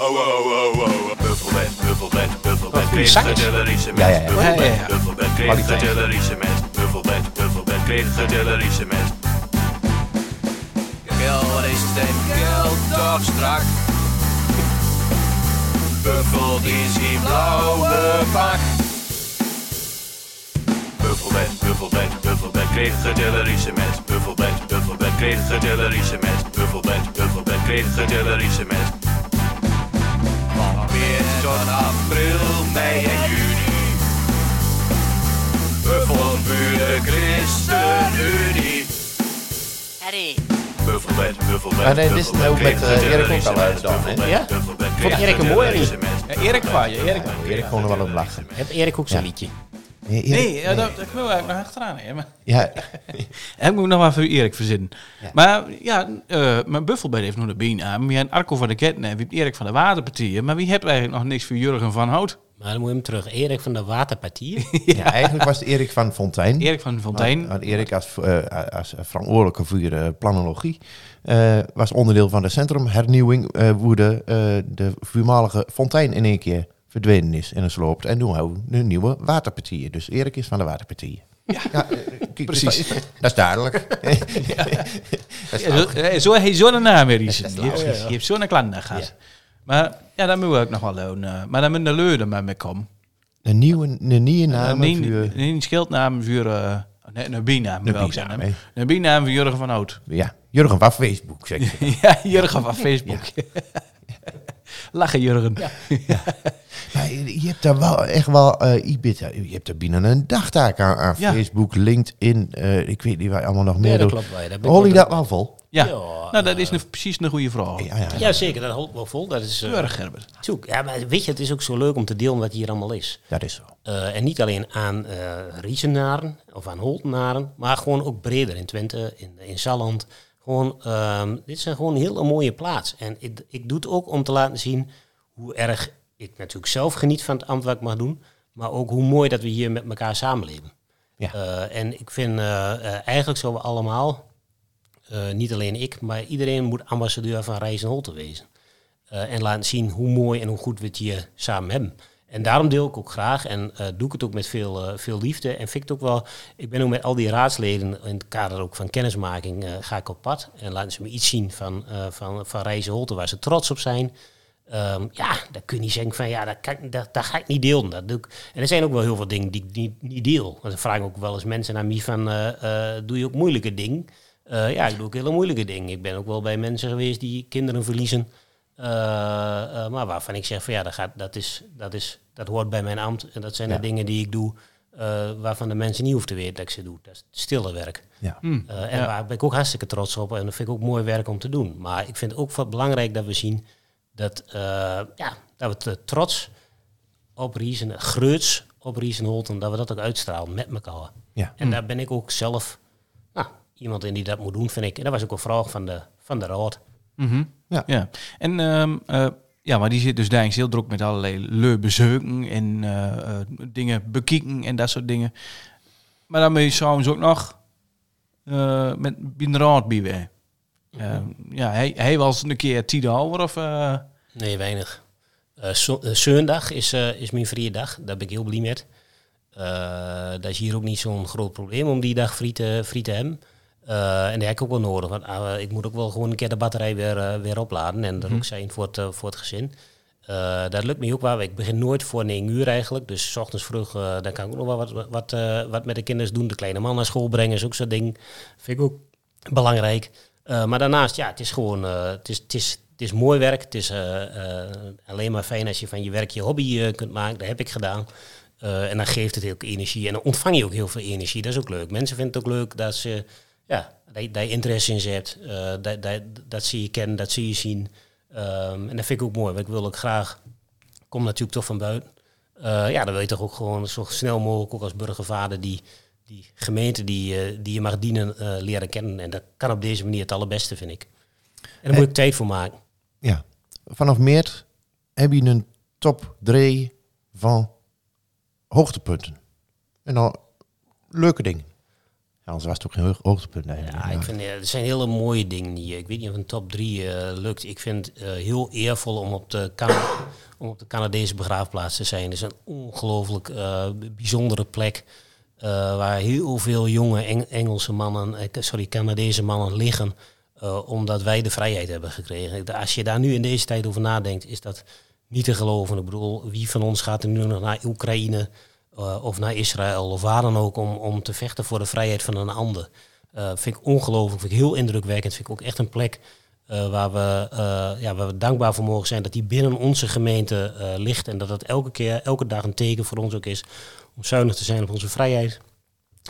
[SPEAKER 6] Oh, oh, oh, oh. Buffelbed, buffelbed, buffelbed, kreefterdelen, riesen
[SPEAKER 4] Ja, ja,
[SPEAKER 6] met.
[SPEAKER 4] ja.
[SPEAKER 3] Ja, ja,
[SPEAKER 6] Buffelbed,
[SPEAKER 3] ja.
[SPEAKER 6] buffelbed, kreefterdelen, riesen met. Buffelbed, buffelbed, kreefterdelen, riesen met. Geld is ten geld toch strak. Buffelt is in blauwe pak. Buffelbed, buffelbed, buffelbed, kreeg gedillerische mes. Buffelbed, buffelbed, kreeg gedillerische mes. Buffelbed, buffelbed, kreeg gedillerische mes. Van maart tot april, mei en juni. Buffelburen ChristenUnie.
[SPEAKER 9] Harry.
[SPEAKER 6] Buffelbed, buffelbed,
[SPEAKER 4] Ah, nee, dit is nou met, eh, Erik
[SPEAKER 6] kreeg
[SPEAKER 4] ook al
[SPEAKER 6] gedillerische
[SPEAKER 4] uit dan, hè?
[SPEAKER 6] mes.
[SPEAKER 7] Ja?
[SPEAKER 6] Buffelbed,
[SPEAKER 7] Vond
[SPEAKER 6] kreeg
[SPEAKER 7] Erik hem mooi,
[SPEAKER 6] gedillerische mes.
[SPEAKER 3] Ja, Erik Kwaaien, Erik Kwaaien.
[SPEAKER 4] Erik kon er wel om lachen.
[SPEAKER 7] Heb Erik ook zijn liedje?
[SPEAKER 4] Nee, Erik-
[SPEAKER 3] Nee, ja, dat, dat kunnen we eigenlijk nog achteraan. Hè, maar,
[SPEAKER 4] Ja,
[SPEAKER 3] ik moet nog maar voor Erik verzinnen. Maar ja, eh, mijn buffelbed heeft nog de been aan. Wie en Arco van de Ketten en wie Erik van de Waterpartijen. Maar wie hebt eigenlijk nog niks voor Jurgen van Hout?
[SPEAKER 7] Maar dan moet je hem terug. Erik van de Waterpartier.
[SPEAKER 4] [laughs] ja, eigenlijk was het Erik van Fontijn.
[SPEAKER 3] Erik van Fontijn.
[SPEAKER 4] Want Erik als, eh, als verantwoordelijke voor eh, planologie eh, was onderdeel van de centrumhernieuwing eh woede de voormalige fontein in één keer verdwenen is en is sloopt. En nu houden we een nieuwe waterpartier. Dus Erik is van de waterpartier. Ja, eh,
[SPEAKER 3] [laughs]
[SPEAKER 4] kijk,
[SPEAKER 3] Precies.
[SPEAKER 4] Dat is
[SPEAKER 3] [laughs]
[SPEAKER 4] [laughs] duidelijk.
[SPEAKER 3] Ja, zo, eh, zo heeft zo'n naam weer iets. Je hebt- je hebt zo'n klant gehad. Maar ja, daar moeten we ook nog wel doen. eh, maar dan moet de leuren maar mee komen.
[SPEAKER 4] Een nieuwe, een nieuwe naam
[SPEAKER 3] Een
[SPEAKER 4] voor,
[SPEAKER 3] nieuwe-
[SPEAKER 4] eh,
[SPEAKER 3] een scheldnaam voor... eh, nee, een binaam moet
[SPEAKER 4] Een
[SPEAKER 3] ik ook
[SPEAKER 4] binaam,
[SPEAKER 3] zeggen.
[SPEAKER 4] hè.
[SPEAKER 3] Een binaam voor Jurgen van Hout. [laughs]
[SPEAKER 4] ja, Jurgen van Facebook, zeg ik.
[SPEAKER 3] Ja, Jurgen van Facebook. [laughs] Lachen, Jurgen.
[SPEAKER 4] Maar je hebt daar wel echt wel, eh, je, bent daar- je hebt daar binnen een dagtaak aan, aan
[SPEAKER 3] Ja.
[SPEAKER 4] Facebook, LinkedIn, eh, ik weet niet waar je allemaal nog meer
[SPEAKER 7] dat
[SPEAKER 4] doet.
[SPEAKER 7] klopt wel, ja, daar ben ik
[SPEAKER 4] Hol je
[SPEAKER 7] wel
[SPEAKER 4] dat wel vol?
[SPEAKER 3] Ja,
[SPEAKER 7] Ja,
[SPEAKER 3] nou dat is een, precies een goede vraag.
[SPEAKER 4] Ja, ja.
[SPEAKER 7] Jazeker, dat houdt wel vol. Dat is eh,
[SPEAKER 3] Keurig, Herbert.
[SPEAKER 7] zoek. Ja, maar weet je, het is ook zo leuk om te delen wat hier allemaal is.
[SPEAKER 4] dat is zo.
[SPEAKER 7] Eh, en niet alleen aan eh Riesenaren of aan Holtenaren, maar gewoon ook breder in Twente, in, in Salland. Gewoon, ehm, dit zijn gewoon een hele mooie plaats. En ik, ik doe het ook om te laten zien hoe erg ik natuurlijk zelf geniet van het ambt wat ik mag doen, maar ook hoe mooi dat we hier met elkaar samenleven.
[SPEAKER 4] Ja.
[SPEAKER 7] Eh, en ik vind eh, eh, eigenlijk zo we allemaal, eh, niet alleen ik, maar iedereen moet ambassadeur van Rijs en Holte wezen. Eh, en laten zien hoe mooi en hoe goed we het hier samen hebben. En daarom deel ik ook graag en eh, doe ik het ook met veel, eh, veel liefde. En vind ik het ook wel, ik ben ook met al die raadsleden in het kader ook van kennismaking eh, ga ik op pad. En laten ze me iets zien van, eh van, van Reizen Holte waar ze trots op zijn. Ehm, ja, dan kun je niet zeggen van ja, dat, kan, dat, dat ga ik niet delen. Dat doe ik. En er zijn ook wel heel veel dingen die ik niet, niet deel. Want dan vraag ik ook wel eens mensen naar mij van eh, eh, doe je ook moeilijke dingen? Eh, ja, ik doe ook hele moeilijke dingen. Ik ben ook wel bij mensen geweest die kinderen verliezen. Eh, eh, maar waarvan ik zeg van ja, dat, gaat, dat, is, dat, is, dat hoort bij mijn ambt. En dat zijn de dingen die ik doe eh, waarvan de mensen niet hoeven te weten dat ik ze doe. Dat is het stille werk.
[SPEAKER 4] Ja.
[SPEAKER 7] Eh, en daar ben ik ook hartstikke trots op. En dat vind ik ook mooi werk om te doen. Maar ik vind het ook wat belangrijk dat we zien dat, eh, ja, dat we te trots op Riesen, greuts op Riesen Holten, dat we dat ook uitstralen met elkaar.
[SPEAKER 4] Ja.
[SPEAKER 7] En daar ben ik ook zelf nou, iemand in die dat moet doen, vind ik. En dat was ook een vraag van de, van de raad.
[SPEAKER 3] Mhm.
[SPEAKER 4] Ja.
[SPEAKER 3] ja. En ehm, eh, ja, maar die zit dus daar heel druk met allerlei leu bezoeken en eh, eh, dingen bekijken en dat soort dingen. Maar daarmee zou ze ook nog eh, met Binraad bij wij. Eh, ja, hij, hij was een keer tiende ouder of... eh,
[SPEAKER 7] Nee, weinig. Eh, zo- eh, Zondag is, eh, is mijn vrije dag. Daar ben ik heel blij met. Eh dat is hier ook niet zo'n groot probleem om die dag vrij te, vrij te hebben. Eh, en die heb ik ook wel nodig. Want ah, ik moet ook wel gewoon een keer de batterij weer, eh, weer opladen. En er ook zijn voor het, eh, voor het gezin. Eh, dat lukt me ook wel. Ik begin nooit voor 9 uur eigenlijk. Dus 's ochtends vroeg, eh, dan kan ik ook nog wel wat, wat, wat, eh, wat met de kinderen doen. De kleine man naar school brengen is ook zo'n ding. Vind ik ook belangrijk. Eh, maar daarnaast, ja, het is gewoon, eh, het, is, het, is, het is mooi werk. Het is eh, eh, alleen maar fijn als je van je werk je hobby eh, kunt maken. Dat heb ik gedaan. Eh, en dan geeft het heel veel energie. En dan ontvang je ook heel veel energie. Dat is ook leuk. Mensen vinden het ook leuk dat ze, ja, dat je, dat je interesse in ze hebt. Eh, dat, dat, dat ze je kennen, dat ze je zien. Ehm, en dat vind ik ook mooi. Want ik wil ook graag, ik kom natuurlijk toch van buiten. Eh, ja, dan wil je toch ook gewoon zo snel mogelijk, ook als burgervader, die, die gemeente die, eh, die je mag dienen, eh, leren kennen. En dat kan op deze manier het allerbeste, vind ik. En daar moet ik tijd voor maken.
[SPEAKER 4] Ja. Vanaf maart heb je een top 3 van hoogtepunten. En dan leuke dingen. Ja, anders was het ook geen hoog- hoogtepunt eigenlijk.
[SPEAKER 7] Ja, ik vind, eh, er zijn hele mooie dingen hier. Ik weet niet of een top 3 lukt. Ik vind het eh, heel eervol om op, de Can- om op de Canadese begraafplaats te zijn. Het is een ongelooflijk eh, bijzondere plek. eh, waar heel veel jonge Eng- Engelse mannen, eh, sorry, Canadese mannen liggen. eh, omdat wij de vrijheid hebben gekregen. Als je daar nu in deze tijd over nadenkt, is dat niet te geloven. Ik bedoel, wie van ons gaat er nu nog naar Oekraïne eh, of naar Israël of waar dan ook om, om te vechten voor de vrijheid van een ander? Eh, vind ik ongelooflijk, vind ik heel indrukwekkend. Vind ik ook echt een plek eh, waar, we, eh, ja, waar we dankbaar voor mogen zijn dat die binnen onze gemeente eh, ligt. En dat dat elke keer, elke dag een teken voor ons ook is om zuinig te zijn op onze vrijheid.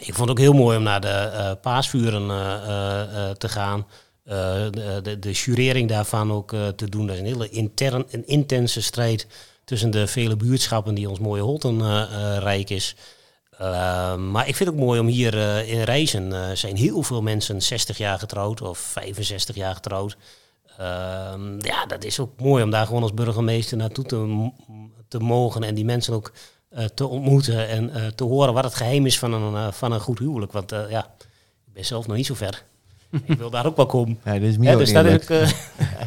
[SPEAKER 7] Ik vond het ook heel mooi om naar de eh, paasvuren eh, eh, eh, te gaan. Eh, de, de, de jurering daarvan ook eh, te doen. Dat is een hele intern, een intense strijd tussen de vele buurtschappen die ons mooie Holten eh, eh, rijk is. Eh, maar ik vind het ook mooi om hier eh, in Reizen eh, zijn heel veel mensen 60 jaar getrouwd of 65 jaar getrouwd. Ehm, ja, dat is ook mooi om daar gewoon als burgemeester naartoe te, m- te mogen en die mensen ook eh, te ontmoeten en eh, te horen wat het geheim is van een, eh, van een goed huwelijk. Want eh, ja, ik ben zelf nog niet zo ver. ik wil daar ook wel komen.
[SPEAKER 4] Ja, dit is
[SPEAKER 7] Hè,
[SPEAKER 4] meer
[SPEAKER 7] dus dat is ook,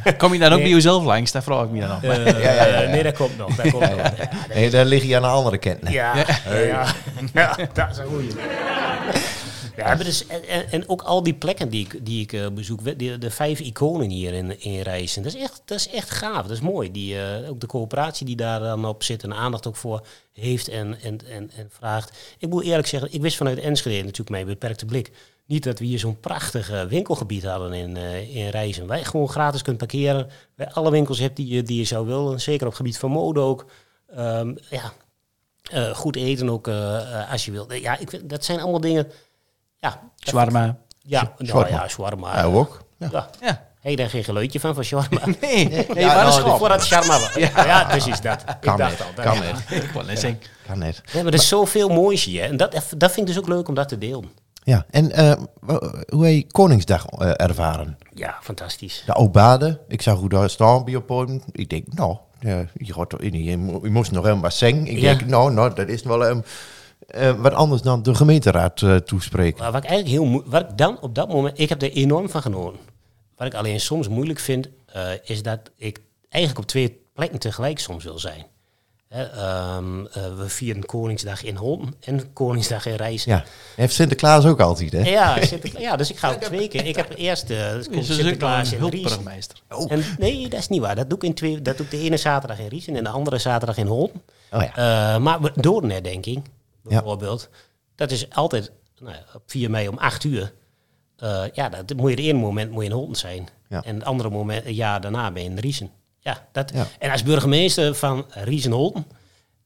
[SPEAKER 7] eh,
[SPEAKER 3] kom je [laughs] daar ook
[SPEAKER 7] Nee.
[SPEAKER 3] bij jezelf langs? Daar vraag ik me dan af.
[SPEAKER 7] [laughs] eh, Nee, dat komt nog. Dat komt nog. Ja, dat-
[SPEAKER 4] Nee, daar lig je aan een andere kant.
[SPEAKER 7] Ja, ja. [laughs] ja, dat is een goeie. Ja, maar dus, en- en, en ook al die plekken die ik, die ik eh, bezoek, we- die- de vijf iconen hier in, in Reizen, dat is, echt, dat is echt gaaf, dat is mooi. Die, eh, ook de coöperatie die daar dan op zit en aandacht ook voor heeft en, en, en, en vraagt. Ik moet eerlijk zeggen, ik wist vanuit Enschede natuurlijk mijn beperkte blik niet dat we hier zo'n prachtig eh, winkelgebied hadden in, eh in Reizen. Wij gewoon gratis kunt parkeren, bij alle winkels hebt die, je- die je zou willen, zeker op het gebied van mode ook. Ehm, ja, eh, goed eten ook eh, eh, als je wilt. Eh, Ja, ik, vind- dat zijn allemaal dingen. Ja,
[SPEAKER 3] Shawarma.
[SPEAKER 7] ja, nou,
[SPEAKER 4] shawarma.
[SPEAKER 7] ja, shawarma.
[SPEAKER 4] Ja, ook. Ja.
[SPEAKER 7] Ja.
[SPEAKER 3] Ja.
[SPEAKER 7] Hey, daar geen geluidje van, van
[SPEAKER 4] [laughs]
[SPEAKER 7] shawarma.
[SPEAKER 3] Nee, [laughs] nee,
[SPEAKER 4] Ja,
[SPEAKER 3] waar is
[SPEAKER 4] nou,
[SPEAKER 3] het?
[SPEAKER 7] Voordat het
[SPEAKER 4] [laughs]
[SPEAKER 7] shawarma was. Ja. precies dat.
[SPEAKER 4] Kan
[SPEAKER 7] ik dacht
[SPEAKER 4] net,
[SPEAKER 7] al. dat-
[SPEAKER 4] kan net,
[SPEAKER 3] Ik wou net zeggen.
[SPEAKER 4] kan net.
[SPEAKER 7] Ja, maar er is zoveel moois hier. En dat, dat vind ik dus ook leuk om dat te delen.
[SPEAKER 4] Ja, en eh, wa- hoe heb je Koningsdag eh, ervaren?
[SPEAKER 7] Ja, fantastisch.
[SPEAKER 4] De Obade, ik zag hoe daar staan bij op podium. Ik denk, nou, ja, je, gaat toch in, je, mo- je moest nog helemaal zingen. Ik
[SPEAKER 7] Ja.
[SPEAKER 4] denk, nou, nou, dat is wel ehm, eh, wat anders dan de gemeenteraad eh, toespreken.
[SPEAKER 7] Maar wat ik eigenlijk heel moe- wat ik dan op dat moment, ik heb er enorm van genoten. Wat ik alleen soms moeilijk vind, eh, is dat ik eigenlijk op twee plekken tegelijk soms wil zijn. Hè, Hè, ehm, eh, we vieren Koningsdag in Holten en Koningsdag in Rijzen.
[SPEAKER 4] Ja, heeft Sinterklaas ook altijd, hè?
[SPEAKER 7] Ja, Sinterkla- ja, dus ik ga ook twee keer. Ik heb eerst eh, dus komt
[SPEAKER 3] Is dus ik wel een
[SPEAKER 7] Sinterklaas in Riesen.
[SPEAKER 3] hulpbrugmeester.
[SPEAKER 7] En, nee, dat is niet waar. Dat doe ik, in twee, dat doe ik de ene zaterdag in Riesen en de andere zaterdag in Holm.
[SPEAKER 4] Oh ja.
[SPEAKER 7] Eh, maar we- door een herdenking, bijvoorbeeld, dat is altijd nou, ja, op 4 mei om 8 uur. Eh, ja, dat moet je het ene moment moet je in Holm zijn.
[SPEAKER 4] Ja.
[SPEAKER 7] En het andere moment, een jaar daarna ben je in Riesen. Ja, dat,
[SPEAKER 4] Ja.
[SPEAKER 7] En als burgemeester van Riesen-Holm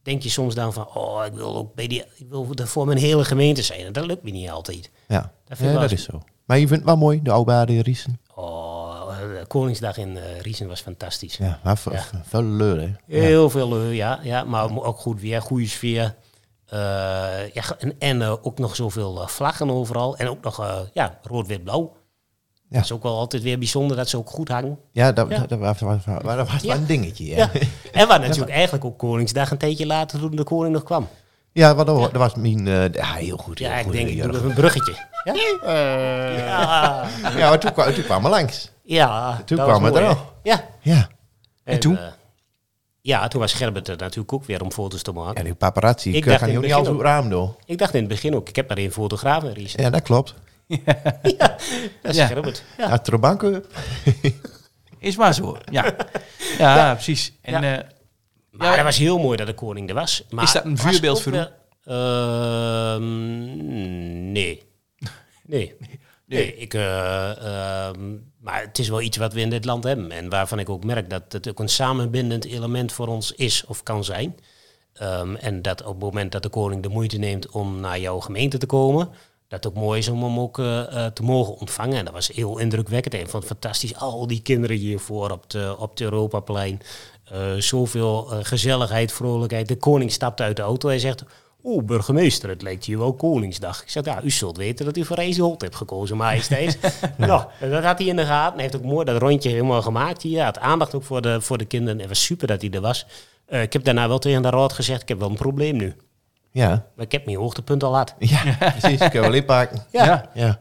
[SPEAKER 7] denk je soms dan van... oh, ik wil, ook bij die, ik wil er voor mijn hele gemeente zijn. En dat lukt me niet altijd.
[SPEAKER 4] Ja,
[SPEAKER 7] Dat vind ik
[SPEAKER 4] Ja,
[SPEAKER 7] wel
[SPEAKER 4] dat
[SPEAKER 7] eens-
[SPEAKER 4] is zo. Maar je vindt het wel mooi, de Oude in Riesen.
[SPEAKER 7] Oh, eh, Koningsdag in eh, Riesen was fantastisch.
[SPEAKER 4] Ja, maar veel,
[SPEAKER 7] Ja.
[SPEAKER 4] veel leur, hè?
[SPEAKER 7] Heel veel leu, ja, ja. Maar ook goed weer, goede sfeer. Eh, ja, en en eh, ook nog zoveel eh, vlaggen overal. En ook nog eh, ja, rood, wit, blauw.
[SPEAKER 4] Ja.
[SPEAKER 7] Dat is ook wel altijd weer bijzonder dat ze ook goed hangen.
[SPEAKER 4] Ja, dat,
[SPEAKER 7] Ja.
[SPEAKER 4] dat, dat was, was- was- was wel
[SPEAKER 7] Ja.
[SPEAKER 4] een dingetje. Ja,
[SPEAKER 7] Ja.
[SPEAKER 4] [laughs] ja.
[SPEAKER 7] En waar natuurlijk eigenlijk ook Koningsdag een tijdje later toen de koning nog kwam.
[SPEAKER 4] want dat, wa- dat was mijn... eh, ja, heel goed.
[SPEAKER 7] Ja,
[SPEAKER 4] heel
[SPEAKER 7] ik
[SPEAKER 4] goed,
[SPEAKER 7] denk,
[SPEAKER 4] heel
[SPEAKER 7] ik doe
[SPEAKER 4] goed.
[SPEAKER 7] nog een bruggetje. Ja, ja.
[SPEAKER 4] Ja, maar toen, kwa- toen kwamen we langs.
[SPEAKER 7] ja
[SPEAKER 4] Toen
[SPEAKER 7] dat was
[SPEAKER 4] kwam het
[SPEAKER 7] mooi,
[SPEAKER 4] er
[SPEAKER 7] hè?
[SPEAKER 4] al.
[SPEAKER 7] Ja.
[SPEAKER 4] Ja. En, toen?
[SPEAKER 7] eh, ja, toen was Gerbert er natuurlijk ook weer om foto's te maken.
[SPEAKER 4] ja, die paparazzi.
[SPEAKER 7] ik
[SPEAKER 4] Ik kan
[SPEAKER 7] dacht in
[SPEAKER 4] niet
[SPEAKER 7] het
[SPEAKER 4] niet alles
[SPEAKER 7] begin
[SPEAKER 4] door het raam door.
[SPEAKER 7] Ik dacht in het begin ook, ik heb maar één fotograaf in Riesen.
[SPEAKER 4] Ja, dat klopt.
[SPEAKER 7] Ja, dat is
[SPEAKER 3] Ja.
[SPEAKER 7] Gerbert. Ja.
[SPEAKER 4] Ja. Trobanken.
[SPEAKER 3] Is maar zo. [laughs] Ja, ja, precies. En, eh,
[SPEAKER 7] Maar dat was heel mooi dat de koning er was. Maar
[SPEAKER 3] Is dat een
[SPEAKER 7] was
[SPEAKER 3] vuurbeeld
[SPEAKER 7] ook
[SPEAKER 3] voor
[SPEAKER 7] wel- Ehm,
[SPEAKER 3] [laughs]
[SPEAKER 7] nee. Nee. Nee, ik, eh, ehm, maar het is wel iets wat we in dit land hebben. En waarvan ik ook merk dat het ook een samenbindend element voor ons is of kan zijn. Ehm, en dat op het moment dat de koning de moeite neemt om naar jouw gemeente te komen, dat het ook mooi is om hem ook eh, eh, te mogen ontvangen. En dat was heel indrukwekkend. En ik vond het fantastisch, al die kinderen hiervoor op, de, op het Europaplein. Eh, zoveel eh, gezelligheid, vrolijkheid. De koning stapt uit de auto en zegt... Oeh, burgemeester, het lijkt hier wel Koningsdag. Ik zeg, ja, u zult weten dat u voor Racing Holt hebt gekozen, majesteit. nou, en dat had hij in de gaten. Hij heeft ook mooi dat rondje helemaal gemaakt hier. Hij had aandacht ook voor de, voor de kinderen. Het was super dat hij er was. Eh, ik heb daarna wel tegen de raad gezegd, ik heb wel een probleem nu.
[SPEAKER 4] Ja.
[SPEAKER 7] Maar ik heb mijn hoogtepunt al gehad.
[SPEAKER 4] Ja, [laughs] precies. Kunnen we wel inpakken.
[SPEAKER 7] Ja,
[SPEAKER 3] ja.
[SPEAKER 4] Ja.